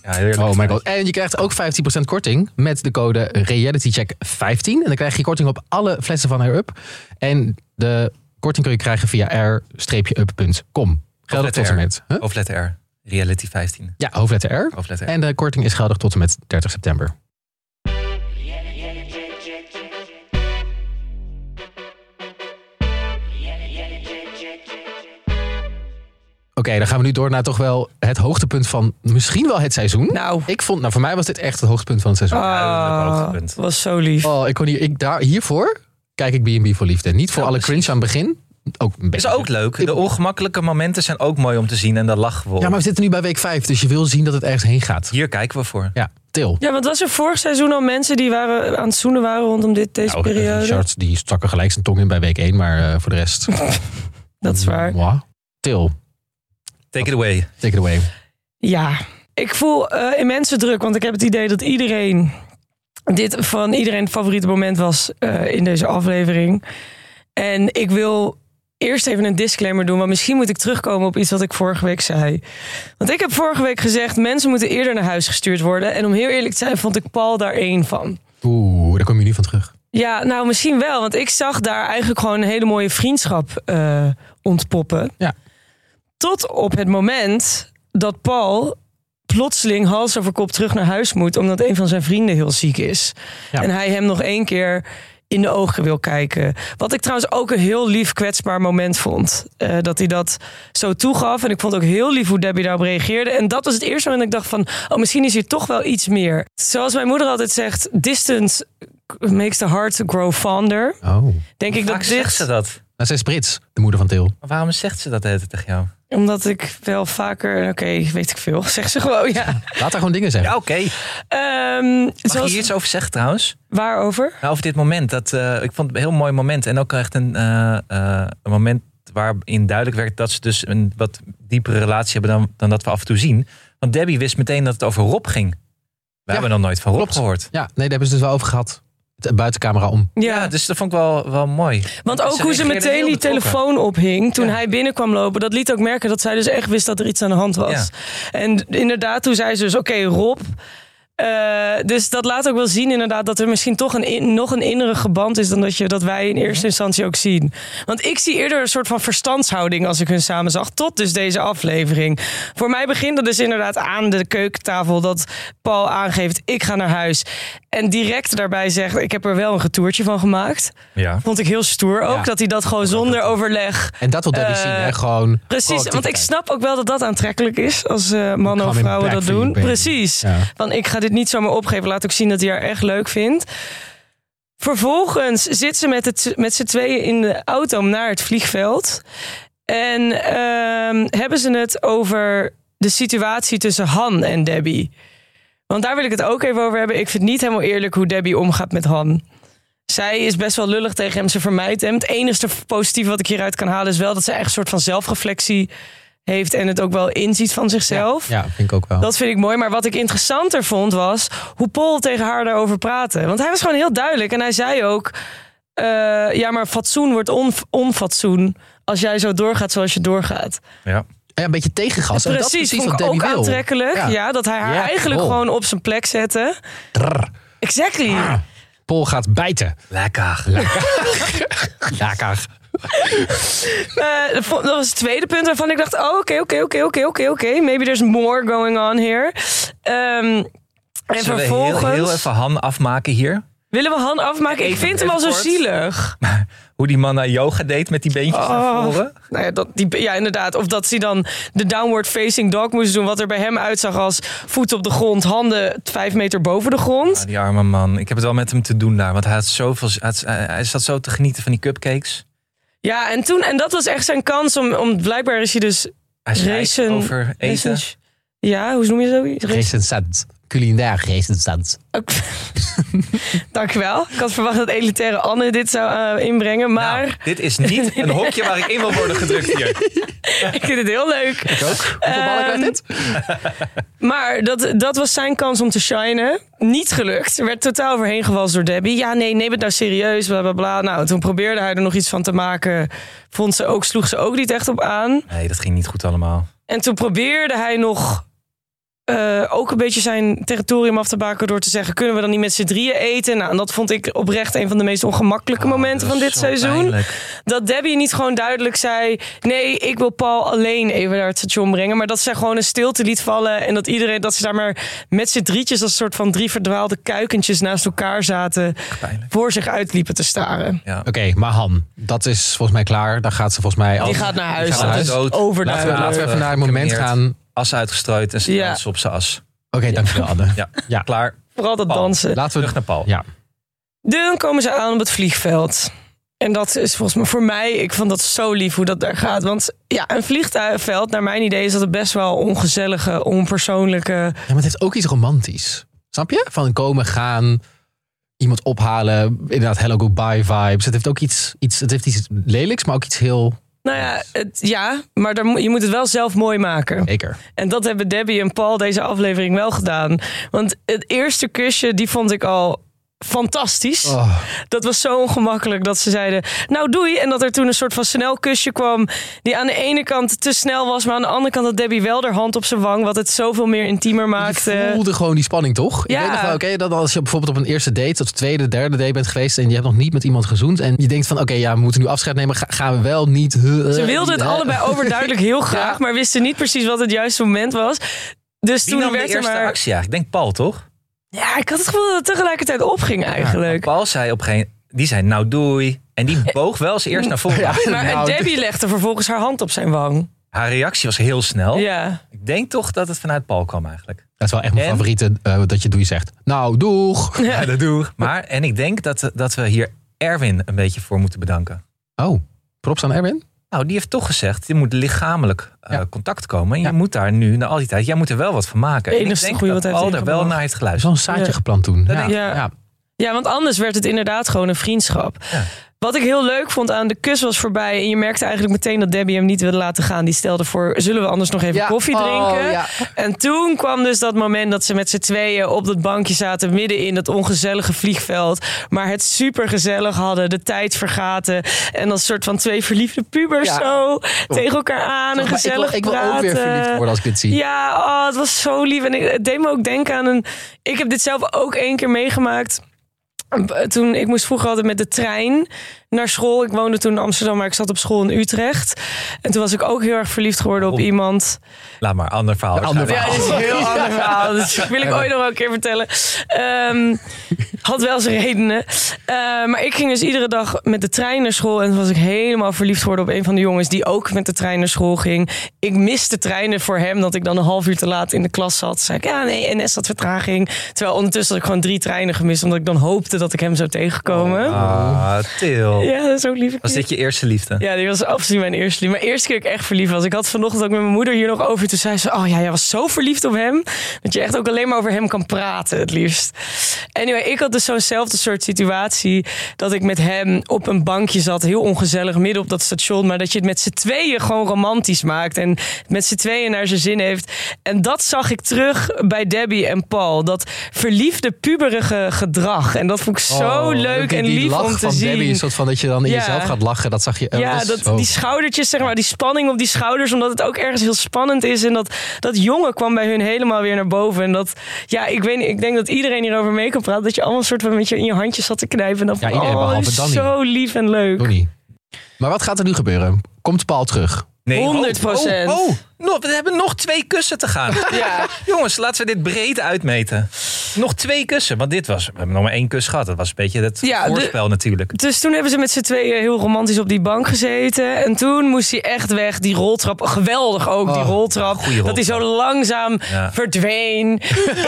[SPEAKER 3] Ja, heerlijk.
[SPEAKER 1] oh my god. En je krijgt ook 15% korting met de code realitycheck15. En dan krijg je korting op alle flessen van Air Up. En de korting kun je krijgen via air-up.com. Geldig tot en met. Huh?
[SPEAKER 3] Hoofdletter R. Reality 15.
[SPEAKER 1] Ja, hoofdletter R.
[SPEAKER 3] Hoofdletter R.
[SPEAKER 1] En de korting is geldig tot en met 30 september. Oké, dan gaan we nu door naar toch wel het hoogtepunt van misschien wel het seizoen.
[SPEAKER 2] Nou.
[SPEAKER 1] Ik vond, nou voor mij was dit echt het hoogtepunt van het seizoen.
[SPEAKER 3] Ja, dat is
[SPEAKER 2] Ah,
[SPEAKER 3] een hoogtepunt.
[SPEAKER 2] was zo lief.
[SPEAKER 1] Oh, ik kon hier, ik daar, hiervoor kijk ik B&B voor liefde. Niet voor
[SPEAKER 3] Ja,
[SPEAKER 1] alle
[SPEAKER 3] precies.
[SPEAKER 1] cringe aan het begin. Ook een
[SPEAKER 3] Is
[SPEAKER 1] beetje.
[SPEAKER 3] ook leuk. De ongemakkelijke momenten zijn ook mooi om te zien en daar lachen we om.
[SPEAKER 1] Ja, maar we zitten nu bij week 5, dus je wil zien dat het ergens heen gaat.
[SPEAKER 3] Hier kijken we voor.
[SPEAKER 1] Ja, Til.
[SPEAKER 2] Ja, want was er vorig seizoen al mensen die waren, aan het zoenen waren rondom dit, deze
[SPEAKER 1] Nou, eh,
[SPEAKER 2] periode?
[SPEAKER 1] Richard, die stak er gelijk zijn tong in bij week 1, maar eh, voor de rest.
[SPEAKER 2] Dat is waar.
[SPEAKER 1] Moi. Til,
[SPEAKER 3] Take it away.
[SPEAKER 1] take it away.
[SPEAKER 2] Ja, ik voel eh, immense druk, want ik heb het idee dat iedereen dit van iedereen het favoriete moment was eh, in deze aflevering. En ik wil eerst even een disclaimer doen, want misschien moet ik terugkomen op iets wat ik vorige week zei. Want ik heb vorige week gezegd, mensen moeten eerder naar huis gestuurd worden. En om heel eerlijk te zijn, vond ik Paul daar één van.
[SPEAKER 1] Oeh, daar kom je nu van terug.
[SPEAKER 2] Ja, nou misschien wel, want ik zag daar eigenlijk gewoon een hele mooie vriendschap eh, ontpoppen.
[SPEAKER 1] Ja.
[SPEAKER 2] Tot op het moment dat Paul plotseling hals over kop terug naar huis moet, omdat een van zijn vrienden heel ziek is.
[SPEAKER 1] Ja.
[SPEAKER 2] En hij hem nog één keer in de ogen wil kijken. Wat ik trouwens ook een heel lief kwetsbaar moment vond. Eh, dat hij dat zo toegaf. En ik vond ook heel lief hoe Debbie daarop reageerde. En dat was het eerste moment dat ik dacht van... oh, misschien is hier toch wel iets meer. Zoals mijn moeder altijd zegt... distance makes the heart grow fonder.
[SPEAKER 1] Oh. Nou,
[SPEAKER 2] Denk ik
[SPEAKER 3] Vaak
[SPEAKER 2] dat
[SPEAKER 3] zegt ze
[SPEAKER 2] dit...
[SPEAKER 3] dat.
[SPEAKER 1] zij is Brits, de moeder van Til.
[SPEAKER 3] Maar waarom zegt ze dat de hele tijd tegen jou?
[SPEAKER 2] Omdat ik wel vaker... Oké, weet ik veel. Zeg ze gewoon, ja. oh,
[SPEAKER 1] Laat haar gewoon dingen zeggen.
[SPEAKER 3] Ja, oké.
[SPEAKER 2] Ehm
[SPEAKER 3] Mag je
[SPEAKER 2] zoals,
[SPEAKER 3] hier iets over zeggen trouwens?
[SPEAKER 2] Waarover?
[SPEAKER 3] Nou, over dit moment. Dat, eh, ik vond het een heel mooi moment. En ook echt een, eh, eh, een moment waarin duidelijk werd dat ze dus een wat diepere relatie hebben dan, dan dat we af en toe zien. Want Debbie wist meteen dat het over Rob ging.
[SPEAKER 1] Ja,
[SPEAKER 3] We hebben nog nooit van Rob
[SPEAKER 1] klopt.
[SPEAKER 3] gehoord.
[SPEAKER 1] Ja, nee, daar hebben ze dus wel over gehad. t- buitencamera om.
[SPEAKER 3] Ja, dus dat vond ik wel, wel mooi.
[SPEAKER 2] Want ook
[SPEAKER 3] Ze
[SPEAKER 2] hoe ze
[SPEAKER 3] reageerde
[SPEAKER 2] meteen
[SPEAKER 3] heel
[SPEAKER 2] die
[SPEAKER 3] betrokken.
[SPEAKER 2] telefoon ophing toen hij binnenkwam lopen. Dat liet ook merken dat zij dus echt wist dat er iets aan de hand was.
[SPEAKER 3] Ja.
[SPEAKER 2] En inderdaad, toen zei ze dus, oké Rob. Eh, dus dat laat ook wel zien inderdaad dat er misschien toch een, in- nog een innerige band is... dan dat, je, dat wij in eerste instantie ook zien. Want ik zie eerder een soort van verstandshouding als ik hun samen zag. Tot dus deze aflevering. Voor mij begint dat dus inderdaad aan de keukentafel... dat Paul aangeeft, ik ga naar huis. En direct daarbij zegt, ik heb er wel een getoertje van gemaakt.
[SPEAKER 3] Ja.
[SPEAKER 2] Vond ik heel stoer ook,
[SPEAKER 1] Ja.
[SPEAKER 2] dat hij dat gewoon zonder overleg...
[SPEAKER 1] En dat wil Debbie
[SPEAKER 2] Eh,
[SPEAKER 1] zien, hè? Gewoon.
[SPEAKER 2] Precies, want ik
[SPEAKER 1] proactiviteit.
[SPEAKER 2] snap ook wel dat dat aantrekkelijk is als eh, mannen of
[SPEAKER 1] Come in
[SPEAKER 2] vrouwen
[SPEAKER 1] back
[SPEAKER 2] dat
[SPEAKER 1] for you,
[SPEAKER 2] doen.
[SPEAKER 1] baby.
[SPEAKER 2] Precies.
[SPEAKER 1] Ja.
[SPEAKER 2] Van ik ga dit niet zomaar opgeven, laat ook zien dat hij haar echt leuk vindt. Vervolgens zit ze met, het, met z'n tweeën in de auto naar het vliegveld. En ehm, hebben ze het over de situatie tussen Han en Debbie. Want daar wil ik het ook even over hebben. Ik vind niet helemaal eerlijk hoe Debbie omgaat met Han. Zij is best wel lullig tegen hem. Ze vermijdt hem. Het enige positieve wat ik hieruit kan halen is wel dat ze echt een soort van zelfreflectie heeft. En het ook wel inziet van zichzelf.
[SPEAKER 1] Ja, vind ik ook wel.
[SPEAKER 2] Dat vind ik mooi. Maar wat ik interessanter vond was hoe Paul tegen haar daarover praatte. Want hij was gewoon heel duidelijk. En hij zei ook: eh, Ja, maar fatsoen wordt on- onfatsoen. Als jij zo doorgaat zoals je doorgaat.
[SPEAKER 3] Ja.
[SPEAKER 1] Oh Ja, een beetje tegengas. En dat is
[SPEAKER 2] precies,
[SPEAKER 1] precies wat
[SPEAKER 2] vond ik
[SPEAKER 1] Debbie
[SPEAKER 2] ook
[SPEAKER 1] wil.
[SPEAKER 2] aantrekkelijk. Ja. dat hij haar
[SPEAKER 1] Ja,
[SPEAKER 2] eigenlijk
[SPEAKER 1] Paul.
[SPEAKER 2] gewoon op zijn plek zette.
[SPEAKER 1] Trrr.
[SPEAKER 2] Exactly.
[SPEAKER 3] Ah.
[SPEAKER 1] Paul gaat bijten.
[SPEAKER 3] Lekker.
[SPEAKER 1] Lekker.
[SPEAKER 2] Eh, dat vo- dat was het tweede punt waarvan ik dacht: oh, oké, oké, oké, oké, oké, oké. Maybe there's more going on here. Ehm, en
[SPEAKER 3] Zullen we
[SPEAKER 2] vervolgens.
[SPEAKER 3] heel, heel even Han afmaken hier?
[SPEAKER 2] Willen we Han afmaken? Ik
[SPEAKER 3] Even-
[SPEAKER 2] vind hem al
[SPEAKER 3] even
[SPEAKER 2] zo
[SPEAKER 3] kort.
[SPEAKER 2] zielig.
[SPEAKER 3] Hoe die man naar yoga deed met die beentjes naar
[SPEAKER 2] Oh.
[SPEAKER 3] voren?
[SPEAKER 2] Nou ja, dat, die, ja, inderdaad. Of dat ze dan de downward facing dog moest doen. Wat er bij hem uitzag als voet op de grond, handen vijf meter boven de grond.
[SPEAKER 3] Ah, die arme man. Ik heb het wel met hem te doen daar. Want hij, had zoveel, hij, had- hij- hij zat zo te genieten van die cupcakes.
[SPEAKER 2] Ja, en toen, en dat was echt zijn kans om, om blijkbaar is hij dus
[SPEAKER 3] Hij schrijft
[SPEAKER 2] Racen-
[SPEAKER 3] over eten.
[SPEAKER 2] recens- Ja, hoe noem je zoiets? Rec-
[SPEAKER 1] Recensent. Culinair recensent.
[SPEAKER 2] Ook- Dankjewel. Ik had verwacht dat elitaire Anne dit zou eh, inbrengen. Maar
[SPEAKER 3] Nou, dit is niet een hokje waar ik in wil worden gedrukt hier.
[SPEAKER 2] ik vind het heel leuk.
[SPEAKER 1] Ik ook. Hoeveel ballen krijgt dit?
[SPEAKER 2] Maar dat, dat was zijn kans om te shinen. Niet gelukt. Er werd totaal overheen gewalst door Debbie. Ja, nee, neem het nou serieus, bla bla bla. Nou, toen probeerde hij er nog iets van te maken. Vond ze ook, sloeg ze ook niet echt op aan.
[SPEAKER 3] Nee, dat ging niet goed allemaal.
[SPEAKER 2] En toen probeerde hij nog eh, ook een beetje zijn territorium af te baken door te zeggen: kunnen we dan niet met z'n drieën eten? Nou, en dat vond ik oprecht een van de meest ongemakkelijke momenten
[SPEAKER 3] Oh,
[SPEAKER 2] van
[SPEAKER 3] dat
[SPEAKER 2] dit
[SPEAKER 3] is zo
[SPEAKER 2] seizoen.
[SPEAKER 3] pijnlijk.
[SPEAKER 2] Dat Debbie niet gewoon duidelijk zei: nee, ik wil Paul alleen even naar het station brengen. Maar dat zij gewoon een stilte liet vallen en dat iedereen, dat ze daar maar met z'n drietjes als een soort van drie verdwaalde kuikentjes naast elkaar zaten,
[SPEAKER 3] Pijnlijk. Oh.
[SPEAKER 2] voor zich uitliepen te staren.
[SPEAKER 3] Ja.
[SPEAKER 1] Oké, maar Han, dat gaat ze volgens mij klaar. Daar gaat ze volgens mij al.
[SPEAKER 2] Die gaat eh, naar huis.
[SPEAKER 3] gaat naar
[SPEAKER 2] Dat
[SPEAKER 3] huis.
[SPEAKER 2] is
[SPEAKER 3] Dood.
[SPEAKER 1] Laten we,
[SPEAKER 2] overduidelijk.
[SPEAKER 1] laten we even naar het moment
[SPEAKER 3] Gecreëerd.
[SPEAKER 1] gaan. Oké,
[SPEAKER 3] As uitgestrooid en ze
[SPEAKER 2] Ja.
[SPEAKER 3] dansen op zijn as.
[SPEAKER 1] dankjewel Anne.
[SPEAKER 3] Ja.
[SPEAKER 1] Ja.
[SPEAKER 3] Klaar.
[SPEAKER 2] Vooral dat
[SPEAKER 3] Paul.
[SPEAKER 2] dansen.
[SPEAKER 1] Laten we...
[SPEAKER 3] Terug naar Paul.
[SPEAKER 1] Ja.
[SPEAKER 2] Dan komen ze aan op het vliegveld. En dat is volgens mij voor mij, ik vond dat zo lief hoe dat daar gaat. Want ja, een vliegtuigveld, naar mijn idee, is dat het best wel ongezellige, onpersoonlijke.
[SPEAKER 1] Ja, maar het heeft ook iets romantisch. Snap je? Van komen, gaan, iemand ophalen. Inderdaad, hello, goodbye vibes. Het heeft ook iets, iets, het heeft iets lelijks, maar ook iets heel...
[SPEAKER 2] Nou ja, het, ja maar daar, moet- je moet het wel zelf mooi maken.
[SPEAKER 1] Zeker.
[SPEAKER 2] En dat hebben Debbie en Paul deze aflevering wel gedaan. Want het eerste kusje, die vond ik al fantastisch.
[SPEAKER 1] Oh,
[SPEAKER 2] Dat was zo ongemakkelijk dat ze zeiden, nou doei. En dat er toen een soort van snel kusje kwam. Die aan de ene kant te snel was, maar aan de andere kant had Debbie wel haar hand op zijn wang. Wat het zoveel meer intiemer
[SPEAKER 1] je
[SPEAKER 2] maakte.
[SPEAKER 1] voelde gewoon die spanning, toch?
[SPEAKER 2] eh, Ja.
[SPEAKER 1] Ik weet nog wel, oké, dat als je bijvoorbeeld op een eerste date... of tweede, derde date bent geweest... en je hebt nog niet met iemand gezoend... en je denkt van, oké, ja, we moeten nu afscheid nemen. Ga- gaan we wel niet...
[SPEAKER 2] Ze wilden het allebei overduidelijk heel graag, maar wisten niet precies wat het juiste moment was. Dus
[SPEAKER 3] Wie
[SPEAKER 2] toen
[SPEAKER 3] nam de
[SPEAKER 2] werd er
[SPEAKER 3] eerste
[SPEAKER 2] maar...
[SPEAKER 3] actie eigenlijk? Ik denk Paul, toch?
[SPEAKER 2] Ja, ik had het gevoel dat het tegelijkertijd opging eigenlijk.
[SPEAKER 3] Paul zei op geen... Die zei nou doei. En die boog wel als eerst naar voren.
[SPEAKER 2] maar en
[SPEAKER 1] Nou,
[SPEAKER 2] Debbie legde vervolgens haar hand op zijn wang.
[SPEAKER 3] Haar reactie was heel snel.
[SPEAKER 2] Ja.
[SPEAKER 3] Ik denk toch dat het vanuit Paul kwam eigenlijk.
[SPEAKER 1] Dat is wel echt mijn
[SPEAKER 3] En?
[SPEAKER 1] favoriete, eh, dat je doe je zegt. Nou, doeg.
[SPEAKER 3] Ja, dat doe ik. Maar, en ik denk dat, dat we hier Erwin een beetje voor moeten bedanken.
[SPEAKER 1] Oh, props aan Erwin.
[SPEAKER 3] Nou, die heeft toch gezegd, je moet lichamelijk eh,
[SPEAKER 1] Ja.
[SPEAKER 3] contact komen. En je
[SPEAKER 1] Ja.
[SPEAKER 3] moet daar nu, na al die tijd, jij moet er wel wat van maken. En ik
[SPEAKER 2] Enigste
[SPEAKER 3] denk
[SPEAKER 2] goede
[SPEAKER 3] dat
[SPEAKER 2] wat hij heeft
[SPEAKER 3] Paul daar wel
[SPEAKER 2] ingebracht.
[SPEAKER 3] naar
[SPEAKER 1] Er
[SPEAKER 3] heeft
[SPEAKER 1] is
[SPEAKER 3] geluisterd.
[SPEAKER 1] wel een zaadje
[SPEAKER 2] Ja.
[SPEAKER 1] geplant toen.
[SPEAKER 3] Dat
[SPEAKER 1] Ja.
[SPEAKER 3] denk
[SPEAKER 2] ik. Ja.
[SPEAKER 1] Ja.
[SPEAKER 2] ja, want anders werd het inderdaad gewoon een vriendschap.
[SPEAKER 3] Ja.
[SPEAKER 2] Wat ik heel leuk vond aan de kus was voorbij. En je merkte eigenlijk meteen dat Debbie hem niet wilde laten gaan. Die stelde voor, zullen we anders nog even
[SPEAKER 1] Ja.
[SPEAKER 2] koffie
[SPEAKER 1] Oh,
[SPEAKER 2] drinken?
[SPEAKER 1] ja.
[SPEAKER 2] En toen kwam dus dat moment dat ze met z'n tweeën op dat bankje zaten. Midden in dat ongezellige vliegveld. Maar het supergezellig hadden. De tijd vergaten. En als soort van twee verliefde pubers
[SPEAKER 1] Ja.
[SPEAKER 2] zo tegen elkaar aan.
[SPEAKER 1] Maar
[SPEAKER 2] En
[SPEAKER 1] ik wil,
[SPEAKER 2] gezellig
[SPEAKER 1] ik wil ook
[SPEAKER 2] praten.
[SPEAKER 1] weer verliefd worden als ik dit zie.
[SPEAKER 2] Ja, oh, het was zo lief. En ik, het deed me ook denken aan een... Ik heb dit zelf ook één keer meegemaakt. Toen, ik moest vroeger altijd met de trein naar school. Ik woonde toen in Amsterdam, maar ik zat op school in Utrecht. En toen was ik ook heel erg verliefd geworden op
[SPEAKER 3] Waarom?
[SPEAKER 2] iemand.
[SPEAKER 3] Laat maar, ander verhaal.
[SPEAKER 1] Een ander
[SPEAKER 2] Ja,
[SPEAKER 1] verhaal.
[SPEAKER 2] dit is een heel ander verhaal. Dat wil ik ooit nog wel een keer vertellen. Ehm, had wel zijn redenen. Eh, maar ik ging dus iedere dag met de trein naar school. En toen was ik helemaal verliefd geworden op een van de jongens die ook met de trein naar school ging. Ik miste treinen voor hem, dat ik dan een half uur te laat in de klas zat. Toen zei ik, ja nee, NS had vertraging. Terwijl ondertussen had ik gewoon drie treinen gemist, omdat ik dan hoopte dat ik hem zou tegenkomen.
[SPEAKER 3] Ah, Til.
[SPEAKER 2] Ja, dat is ook lief.
[SPEAKER 3] Was dit je eerste liefde?
[SPEAKER 2] Ja, die was absoluut mijn eerste liefde. Mijn eerste keer dat ik echt verliefd was. Ik had vanochtend ook met mijn moeder hier nog over. Toen zei ze, oh ja, jij was zo verliefd op hem. Dat je echt ook alleen maar over hem kan praten, het liefst. Anyway, ik had dus zo'nzelfde soort situatie. Dat ik met hem op een bankje zat. Heel ongezellig, midden op dat station. Maar dat je het met z'n tweeën gewoon romantisch maakt. En met z'n tweeën naar zijn zin heeft. En dat zag ik terug bij Debbie en Paul. Dat verliefde, puberige gedrag. En dat vond ik zo
[SPEAKER 1] Oh,
[SPEAKER 2] leuk
[SPEAKER 1] die-
[SPEAKER 2] en
[SPEAKER 1] die
[SPEAKER 2] lief
[SPEAKER 1] lach
[SPEAKER 2] om te
[SPEAKER 1] van
[SPEAKER 2] zien.
[SPEAKER 1] Debbie, een soort van dat je dan in
[SPEAKER 2] Ja.
[SPEAKER 1] jezelf gaat lachen. Dat zag je. eh,
[SPEAKER 2] Ja,
[SPEAKER 1] dat is-
[SPEAKER 2] dat,
[SPEAKER 1] oh.
[SPEAKER 2] die schoudertjes, zeg maar, die spanning op die schouders, omdat het ook ergens heel spannend is. En dat, dat jongen kwam bij hun helemaal weer naar boven. En dat, ja, ik weet niet, ik denk dat iedereen hierover mee kan praten. Dat je allemaal soort van met je in je handjes zat te knijpen. En dat
[SPEAKER 1] Ja,
[SPEAKER 2] van,
[SPEAKER 1] iedereen
[SPEAKER 2] oh,
[SPEAKER 1] behalve
[SPEAKER 2] is
[SPEAKER 1] Danny.
[SPEAKER 2] zo lief en leuk.
[SPEAKER 1] Donnie. Maar wat gaat er nu gebeuren? Komt Paul terug?
[SPEAKER 3] Nee,
[SPEAKER 2] 100%.
[SPEAKER 3] Oh, oh, oh. Nog- we hebben nog twee kussen te gaan.
[SPEAKER 2] Ja.
[SPEAKER 3] Jongens, laten we dit breed uitmeten. Nog twee kussen, want dit was... We hebben nog maar één kus gehad. Dat was een beetje het
[SPEAKER 2] Ja, de-
[SPEAKER 3] voorspel natuurlijk.
[SPEAKER 2] Dus toen hebben ze met z'n tweeën heel romantisch op die bank gezeten. En toen moest hij echt weg. Die roltrap, geweldig ook, die
[SPEAKER 1] Oh,
[SPEAKER 2] roltrap.
[SPEAKER 3] goeie
[SPEAKER 2] Dat hij zo langzaam
[SPEAKER 3] Ja.
[SPEAKER 2] verdween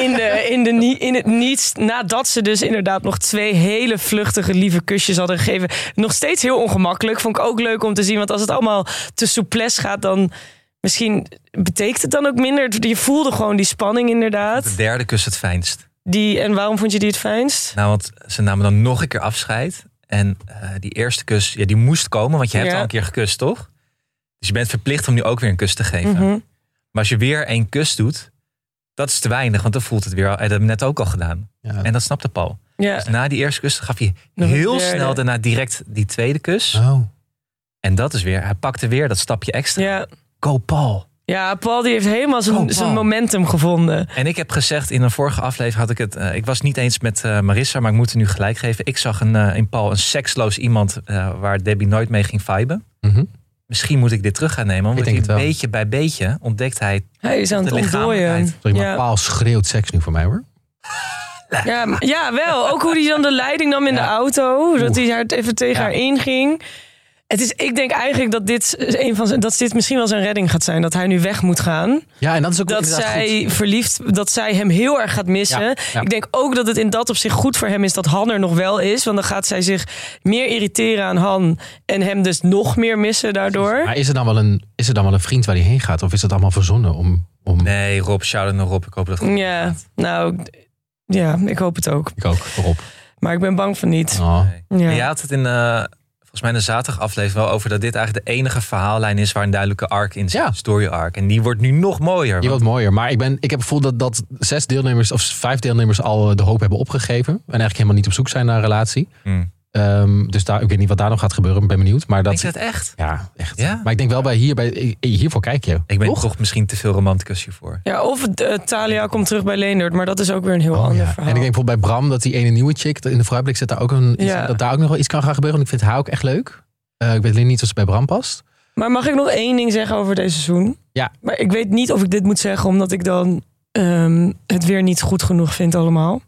[SPEAKER 2] in, de, in, de, nie- in het niets. Nadat ze dus inderdaad nog twee hele vluchtige, lieve kusjes hadden gegeven. Nog steeds heel ongemakkelijk. Vond ik ook leuk om te zien. Want als het allemaal te soeples gaat, dan misschien betekent het dan ook minder. Je voelde gewoon die spanning inderdaad.
[SPEAKER 3] De derde kus het fijnst.
[SPEAKER 2] Die, en waarom vond je die het fijnst?
[SPEAKER 3] Nou, want ze namen dan nog een keer afscheid. En eh, die eerste kus, ja, die moest komen, want je hebt
[SPEAKER 2] Ja.
[SPEAKER 3] al een keer gekust, toch? Dus je bent verplicht om nu ook weer een kus te geven.
[SPEAKER 2] Mhm.
[SPEAKER 3] Maar als je weer één kus doet, dat is te weinig, want dan voelt het weer al. En dat hebben we net ook al gedaan.
[SPEAKER 1] Ja.
[SPEAKER 3] En dat snapte Paul.
[SPEAKER 2] Ja.
[SPEAKER 3] Dus na die eerste kus gaf hij
[SPEAKER 2] Nog een
[SPEAKER 3] heel
[SPEAKER 2] derde.
[SPEAKER 3] snel daarna direct die tweede kus.
[SPEAKER 1] Oh.
[SPEAKER 3] En dat is weer, hij pakte weer dat stapje extra.
[SPEAKER 2] ja.
[SPEAKER 3] Go Paul.
[SPEAKER 2] Ja, Paul die heeft helemaal zijn,
[SPEAKER 3] Oh, Paul.
[SPEAKER 2] zijn momentum gevonden.
[SPEAKER 3] En ik heb gezegd in een vorige aflevering had ik het. eh, ik was niet eens met eh, Marissa, maar ik moet er nu gelijk geven. Ik zag een, eh, in Paul een seksloos iemand eh, waar Debbie nooit mee ging viben.
[SPEAKER 1] Mhm.
[SPEAKER 3] Misschien moet ik dit terug gaan nemen.
[SPEAKER 1] Ik
[SPEAKER 3] Want
[SPEAKER 1] denk het wel.
[SPEAKER 3] beetje bij beetje ontdekt hij.
[SPEAKER 2] Hij is aan
[SPEAKER 3] De
[SPEAKER 2] het ontdooien.
[SPEAKER 3] lichamelijkheid.
[SPEAKER 1] Sorry, maar
[SPEAKER 2] Ja.
[SPEAKER 1] Paul schreeuwt seks nu voor mij hoor.
[SPEAKER 2] Ja, m- ja, wel. Ook hoe hij dan de leiding nam in de
[SPEAKER 3] Ja.
[SPEAKER 2] auto. Dat hij haar even tegen
[SPEAKER 3] Ja.
[SPEAKER 2] haar inging. Het is, ik denk eigenlijk dat dit, een van zijn, dat dit misschien wel zijn redding gaat zijn. Dat hij nu weg moet gaan.
[SPEAKER 1] Ja, en dat is ook
[SPEAKER 2] Dat
[SPEAKER 1] inderdaad
[SPEAKER 2] zij
[SPEAKER 1] goed.
[SPEAKER 2] verliefd, dat zij hem heel erg gaat missen.
[SPEAKER 1] Ja, ja.
[SPEAKER 2] Ik denk ook dat het in dat opzicht goed voor hem is dat Han er nog wel is. Want dan gaat zij zich meer irriteren aan Han. En hem dus nog meer missen daardoor.
[SPEAKER 1] Maar is er, dan wel een, is er dan wel een vriend waar hij heen gaat? Of is dat allemaal verzonnen om... om...
[SPEAKER 3] Nee, Rob, shout out naar Rob. Ik hoop dat het goed
[SPEAKER 2] Ja, nou, ja, ik hoop het ook.
[SPEAKER 1] Ik ook, Rob.
[SPEAKER 2] Maar ik ben bang van niet.
[SPEAKER 1] Oh.
[SPEAKER 3] Nee.
[SPEAKER 2] Ja.
[SPEAKER 3] Maar Je had het in, eh, volgens mij in de zaterdag aflevering wel over dat dit eigenlijk de enige verhaallijn is waar een duidelijke arc in zit.
[SPEAKER 1] Ja.
[SPEAKER 3] Een story arc. En die wordt nu nog mooier.
[SPEAKER 1] Je
[SPEAKER 3] want-
[SPEAKER 1] wordt mooier. Maar ik, ben, ik heb het gevoel dat, dat zes deelnemers of vijf deelnemers al eh, de hoop hebben opgegeven. En eigenlijk helemaal niet op zoek zijn naar een relatie.
[SPEAKER 3] Hmm.
[SPEAKER 1] Ehm, dus daar, ik weet niet wat daar nog gaat gebeuren. Ik ben benieuwd. Maar dat,
[SPEAKER 3] Denk je dat echt?
[SPEAKER 1] ja, echt.
[SPEAKER 3] Ja?
[SPEAKER 1] Maar ik denk wel bij hier, bij, eh, hiervoor kijk je.
[SPEAKER 3] Ik ben
[SPEAKER 1] Toch?
[SPEAKER 3] toch, misschien te veel romanticus hiervoor.
[SPEAKER 2] Ja, of eh, Thalia komt terug bij Leendert, maar dat is ook weer een heel
[SPEAKER 1] Oh,
[SPEAKER 2] ander
[SPEAKER 1] ja. En ik
[SPEAKER 2] verhaal.
[SPEAKER 1] denk bijvoorbeeld bij Bram dat die ene nieuwe chick dat in de vooruitblik zit daar ook een, iets-
[SPEAKER 2] Ja.
[SPEAKER 1] dat daar ook nog wel iets kan gaan gebeuren. Want ik vind haar ook echt leuk. Eh, ik weet alleen niet of ze bij Bram past.
[SPEAKER 2] Maar mag ik nog één ding zeggen over deze seizoen?
[SPEAKER 1] Ja.
[SPEAKER 2] Maar ik weet niet of ik dit moet zeggen, omdat ik dan ehm, het weer niet goed genoeg vind allemaal.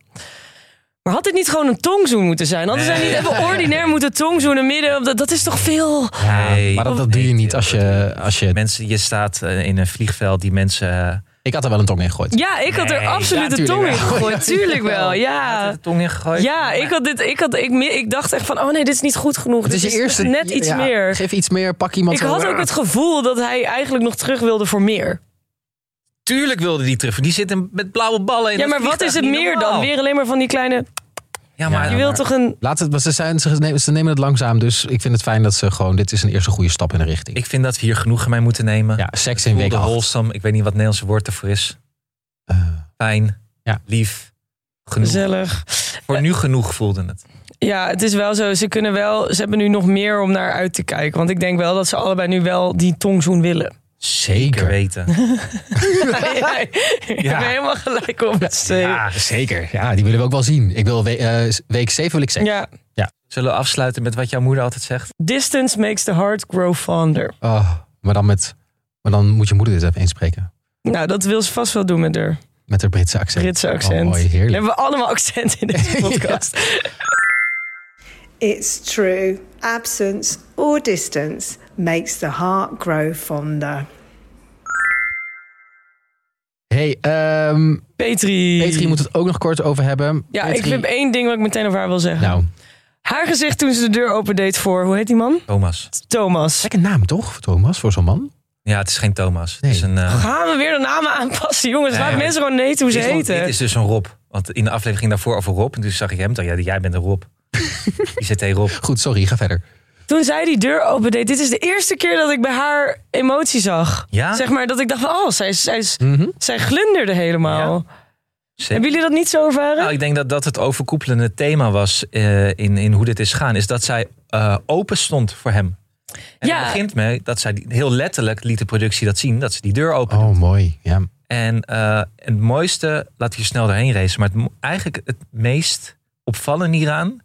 [SPEAKER 2] Maar had dit niet gewoon een tongzoen moeten zijn? Hadden zij
[SPEAKER 3] Nee.
[SPEAKER 2] niet even ordinair moeten tongzoenen midden? op dat- Dat is toch veel?
[SPEAKER 3] Nee.
[SPEAKER 1] maar dat, dat doe je niet als je, als je.
[SPEAKER 3] Mensen, je staat eh, in een vliegveld die mensen eh,
[SPEAKER 1] Ik had er wel een tong in gegooid.
[SPEAKER 2] Ja, ik had er
[SPEAKER 3] Nee.
[SPEAKER 2] absoluut
[SPEAKER 1] Ja,
[SPEAKER 2] de
[SPEAKER 1] tuurlijk
[SPEAKER 2] tong in
[SPEAKER 1] wel.
[SPEAKER 2] gegooid. Tuurlijk wel,
[SPEAKER 3] met
[SPEAKER 2] ja.
[SPEAKER 3] de tong in gegooid.
[SPEAKER 2] Ja, ik, had dit, ik, had, ik, mi- ik dacht echt van, oh nee, dit is niet goed genoeg.
[SPEAKER 1] Het is
[SPEAKER 2] Dit
[SPEAKER 1] je eerste.
[SPEAKER 2] dus net iets
[SPEAKER 1] ja,
[SPEAKER 2] meer.
[SPEAKER 1] Geef iets meer, pak iemand.
[SPEAKER 2] Ik
[SPEAKER 1] zo-
[SPEAKER 2] had ook het gevoel dat hij eigenlijk nog terug wilde voor meer.
[SPEAKER 3] Tuurlijk wilde die terug. Die zit in- met blauwe ballen in
[SPEAKER 2] Ja,
[SPEAKER 3] het
[SPEAKER 2] maar wat
[SPEAKER 3] vliegtuig,
[SPEAKER 2] is het
[SPEAKER 3] niet
[SPEAKER 2] meer
[SPEAKER 3] normaal.
[SPEAKER 2] dan? Weer alleen maar van die kleine...
[SPEAKER 3] Ja, maar
[SPEAKER 1] Ja,
[SPEAKER 2] Je wilt toch een...
[SPEAKER 1] Laat het, maar ze, zijn, ze, nemen, ze nemen het langzaam, dus ik vind het fijn dat ze gewoon... Dit is een eerste goede stap in de richting.
[SPEAKER 3] ik vind dat we hier genoegen mee moeten nemen.
[SPEAKER 1] ja, seks in week
[SPEAKER 3] Voelde
[SPEAKER 1] 8.
[SPEAKER 3] wholesome. Ik weet niet wat het Nederlandse woord ervoor is. Fijn,
[SPEAKER 1] Eh. Ja.
[SPEAKER 3] lief, genoeg.
[SPEAKER 2] Gezellig.
[SPEAKER 3] Voor nu genoeg voelde het.
[SPEAKER 2] Ja, het is wel zo. Ze kunnen wel... Ze hebben nu nog meer om naar uit te kijken. Want ik denk wel dat ze allebei nu wel die tongzoen willen.
[SPEAKER 1] Zeker.
[SPEAKER 3] weten.
[SPEAKER 2] ja. Ik
[SPEAKER 3] Ja.
[SPEAKER 2] heb helemaal gelijk op het steek.
[SPEAKER 1] ja, zeker. Ja, die willen we ook wel zien. Ik wil we- eh, week 7 wil ik seks.
[SPEAKER 2] Ja.
[SPEAKER 3] Zullen we afsluiten met wat jouw moeder altijd zegt?
[SPEAKER 2] Distance makes the heart grow fonder.
[SPEAKER 1] Oh, maar, dan met, maar dan moet je moeder dit even inspreken.
[SPEAKER 2] Nou, dat wil ze vast wel doen met haar
[SPEAKER 1] Met haar Britse accent.
[SPEAKER 2] Britse accent.
[SPEAKER 1] Oh, mooi,
[SPEAKER 2] We
[SPEAKER 1] heerlijk.
[SPEAKER 2] hebben allemaal accent in deze podcast.
[SPEAKER 4] It's true. Absence or distance makes the heart grow fonder.
[SPEAKER 1] Hey, ehm
[SPEAKER 2] Petri.
[SPEAKER 1] Petri moet het ook nog kort over hebben.
[SPEAKER 2] Ja,
[SPEAKER 1] Petri,
[SPEAKER 2] ik heb één ding wat ik meteen over haar wil zeggen.
[SPEAKER 1] Nou,
[SPEAKER 2] Haar gezicht toen ze de deur opendeed voor, hoe heet die man?
[SPEAKER 3] Thomas.
[SPEAKER 2] Thomas.
[SPEAKER 1] gekke naam toch, Thomas, voor zo'n man?
[SPEAKER 3] Ja, het is geen Thomas.
[SPEAKER 1] Nee.
[SPEAKER 3] Het is een, eh,
[SPEAKER 2] Gaan we weer de namen aanpassen, jongens?
[SPEAKER 3] Nee,
[SPEAKER 2] Laat
[SPEAKER 3] maar-
[SPEAKER 2] mensen gewoon weten hoe Oh, ze
[SPEAKER 3] dit is-
[SPEAKER 2] heten.
[SPEAKER 3] Dit is dus een Rob. Want in de aflevering ging daarvoor over Rob. En toen zag ik hem. Dacht, ja, jij bent een Rob. Die zit tegen Rob.
[SPEAKER 1] Goed, sorry, ga verder.
[SPEAKER 2] Toen zij die deur opendeed, dit is de eerste keer dat ik bij haar emotie zag.
[SPEAKER 3] Ja?
[SPEAKER 2] Zeg maar dat ik dacht, van, oh, zij, zij,
[SPEAKER 1] Mhm.
[SPEAKER 2] zij glunderde helemaal.
[SPEAKER 3] Zeker.
[SPEAKER 2] Hebben jullie dat niet zo ervaren?
[SPEAKER 3] Nou, ik denk dat dat het overkoepelende thema was eh, in, in hoe dit is gaan. Is dat zij eh, open stond voor hem. En
[SPEAKER 2] Ja.
[SPEAKER 3] het begint mee dat zij die- heel letterlijk liet de productie dat zien. Dat ze die deur open.
[SPEAKER 1] Oh, mooi. Ja.
[SPEAKER 3] En eh, het mooiste, laat je snel doorheen racen. Maar het, mo- eigenlijk het meest opvallende hieraan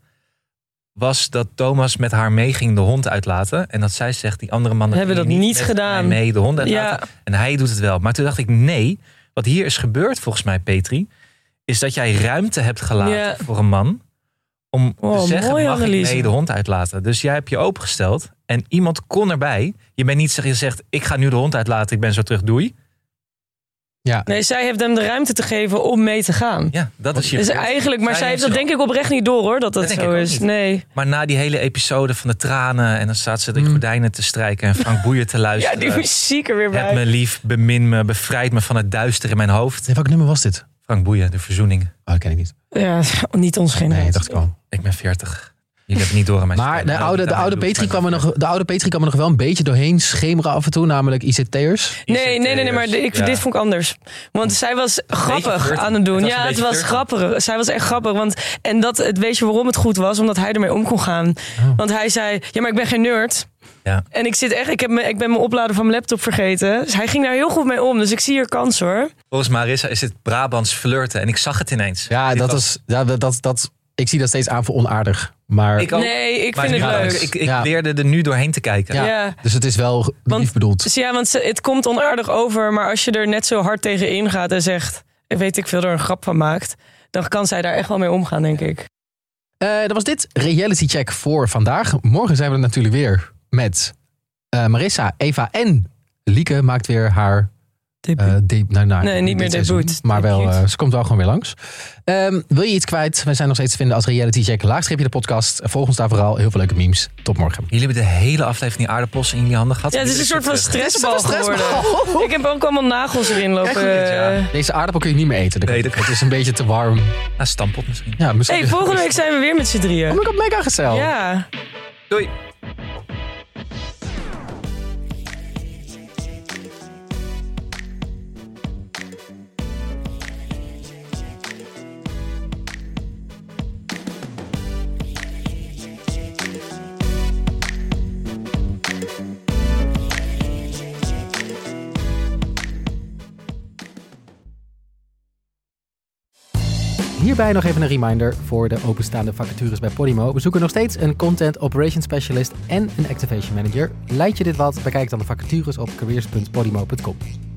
[SPEAKER 3] was dat Thomas met haar mee ging de hond uitlaten. En dat zij zegt, die andere mannen
[SPEAKER 2] Hebben
[SPEAKER 3] gingen
[SPEAKER 2] dat niet
[SPEAKER 3] met
[SPEAKER 2] gedaan.
[SPEAKER 3] mij mee de hond uitlaten.
[SPEAKER 2] Ja.
[SPEAKER 3] En hij doet het wel. Maar toen dacht ik, nee, wat hier is gebeurd volgens mij, Petri... is dat jij ruimte hebt gelaten
[SPEAKER 2] Ja.
[SPEAKER 3] voor een man... om
[SPEAKER 2] Oh,
[SPEAKER 3] te zeggen,
[SPEAKER 2] mooie
[SPEAKER 3] mag ik
[SPEAKER 2] analyse.
[SPEAKER 3] mee de hond uitlaten? Dus jij hebt je opengesteld en iemand kon erbij. Je bent niet zeg- je zegt, ik ga nu de hond uitlaten, ik ben zo terug, doei.
[SPEAKER 1] Ja.
[SPEAKER 2] Nee, zij heeft hem de ruimte te geven om mee te gaan.
[SPEAKER 3] Ja, dat is je
[SPEAKER 2] Dus
[SPEAKER 3] gebeurd.
[SPEAKER 2] eigenlijk, maar
[SPEAKER 3] Zij
[SPEAKER 2] zij heeft
[SPEAKER 3] heeft
[SPEAKER 2] dat denk ik oprecht niet door hoor, dat dat,
[SPEAKER 3] Dat denk
[SPEAKER 2] zo
[SPEAKER 3] ik ook
[SPEAKER 2] is.
[SPEAKER 3] niet.
[SPEAKER 2] Nee.
[SPEAKER 3] Maar na die hele episode van de tranen en dan staat ze de gordijnen te strijken en Frank Boeien te
[SPEAKER 2] Mm. Ja,
[SPEAKER 3] luisteren.
[SPEAKER 2] die muziek er weer bij.
[SPEAKER 3] Heb me lief, bemin me, bevrijd me van het duister in mijn hoofd.
[SPEAKER 1] Welk nummer was dit?
[SPEAKER 3] Frank Boeien, de verzoening.
[SPEAKER 1] Oh, dat ken ik niet.
[SPEAKER 2] Ja, niet ons generatie.
[SPEAKER 1] Nee, dacht ik al.
[SPEAKER 3] Ik ben 40. Jullie hebben niet door aan mijn
[SPEAKER 1] Maar
[SPEAKER 3] stem.
[SPEAKER 1] de oude, de,
[SPEAKER 3] Daarmee
[SPEAKER 1] oude
[SPEAKER 3] doe ik
[SPEAKER 1] Petri
[SPEAKER 3] maar
[SPEAKER 1] kwam er nog, de oude Petri kwam er nog wel een beetje doorheen schemeren af en toe. Namelijk ICT'ers.
[SPEAKER 3] ICT'ers.
[SPEAKER 2] Nee, nee, nee, nee, maar ik,
[SPEAKER 3] Ja.
[SPEAKER 2] dit vond ik anders. Want zij was grappig
[SPEAKER 3] flirty.
[SPEAKER 2] aan het doen.
[SPEAKER 3] Het was een
[SPEAKER 2] ja, het
[SPEAKER 3] beetje
[SPEAKER 2] was
[SPEAKER 3] flirty.
[SPEAKER 2] grappig. Zij was echt grappig. Want, en dat, het, weet je waarom het goed was? Omdat hij ermee om kon gaan. Want hij zei, ja, maar ik ben geen nerd.
[SPEAKER 3] Oh. Ja.
[SPEAKER 2] En ik zit echt, ik, heb me, ik ben mijn oplader van mijn laptop vergeten. Dus hij ging daar heel goed mee om. Dus ik zie hier kans hoor.
[SPEAKER 3] Volgens Marissa is het Brabants flirten en ik zag het ineens.
[SPEAKER 1] Ja,
[SPEAKER 3] Dit
[SPEAKER 1] dat
[SPEAKER 3] was-
[SPEAKER 1] is, ja, dat, dat, dat, ik zie dat steeds aan voor onaardig. Maar,
[SPEAKER 3] Ik ook.
[SPEAKER 2] Nee, ik
[SPEAKER 3] Maar
[SPEAKER 2] vind het
[SPEAKER 3] ja,
[SPEAKER 2] leuk.
[SPEAKER 3] Ik, ik
[SPEAKER 1] Ja.
[SPEAKER 3] leerde er nu doorheen te kijken.
[SPEAKER 1] ja,
[SPEAKER 2] ja.
[SPEAKER 1] Dus het is wel
[SPEAKER 2] Want-
[SPEAKER 1] lief bedoeld.
[SPEAKER 2] Dus ja, want ze- het komt onaardig over. Maar als je er net zo hard tegen ingaat en zegt... weet ik veel, er een grap van maakt... dan kan zij daar echt wel mee omgaan, denk ik.
[SPEAKER 1] Eh, dat was dit reality check voor vandaag. Morgen zijn we er natuurlijk weer met eh, Marissa, Eva en Lieke maakt weer haar eh, de- nou, nou,
[SPEAKER 2] Nee, niet meer
[SPEAKER 1] dit seizoen,
[SPEAKER 2] debuut.
[SPEAKER 1] Maar wel,
[SPEAKER 2] Debuut.
[SPEAKER 1] eh, ze komt wel gewoon weer langs. Ehm, wil je iets kwijt? Wij zijn nog steeds te vinden als Reality Check. Laagstreepje de podcast. Volg ons daar vooral. Heel veel leuke memes. Tot morgen.
[SPEAKER 3] Jullie hebben de hele aflevering aardappels in jullie eh, handen gehad.
[SPEAKER 2] Ja, het is een soort van stressbal geworden.
[SPEAKER 1] Oh.
[SPEAKER 2] Ik heb ook allemaal nagels erin lopen.
[SPEAKER 3] goed, ja.
[SPEAKER 2] eh.
[SPEAKER 1] Deze aardappel kun je niet meer eten.
[SPEAKER 3] Nee, dat-
[SPEAKER 1] Het is een beetje te warm.
[SPEAKER 3] Nou, stampot misschien.
[SPEAKER 1] Ja, misschien...
[SPEAKER 2] hey, volgende week zijn we weer met z'n
[SPEAKER 1] Oh
[SPEAKER 2] drieën.
[SPEAKER 1] my god, mega
[SPEAKER 2] Oh.
[SPEAKER 1] gezellig.
[SPEAKER 2] Ja.
[SPEAKER 3] Doei.
[SPEAKER 1] Hierbij nog even een reminder voor de openstaande vacatures bij Podimo. We zoeken nog steeds een Content Operations Specialist en een Activation Manager. Leid je dit wat? Bekijk dan de vacatures op careers.podimo.com.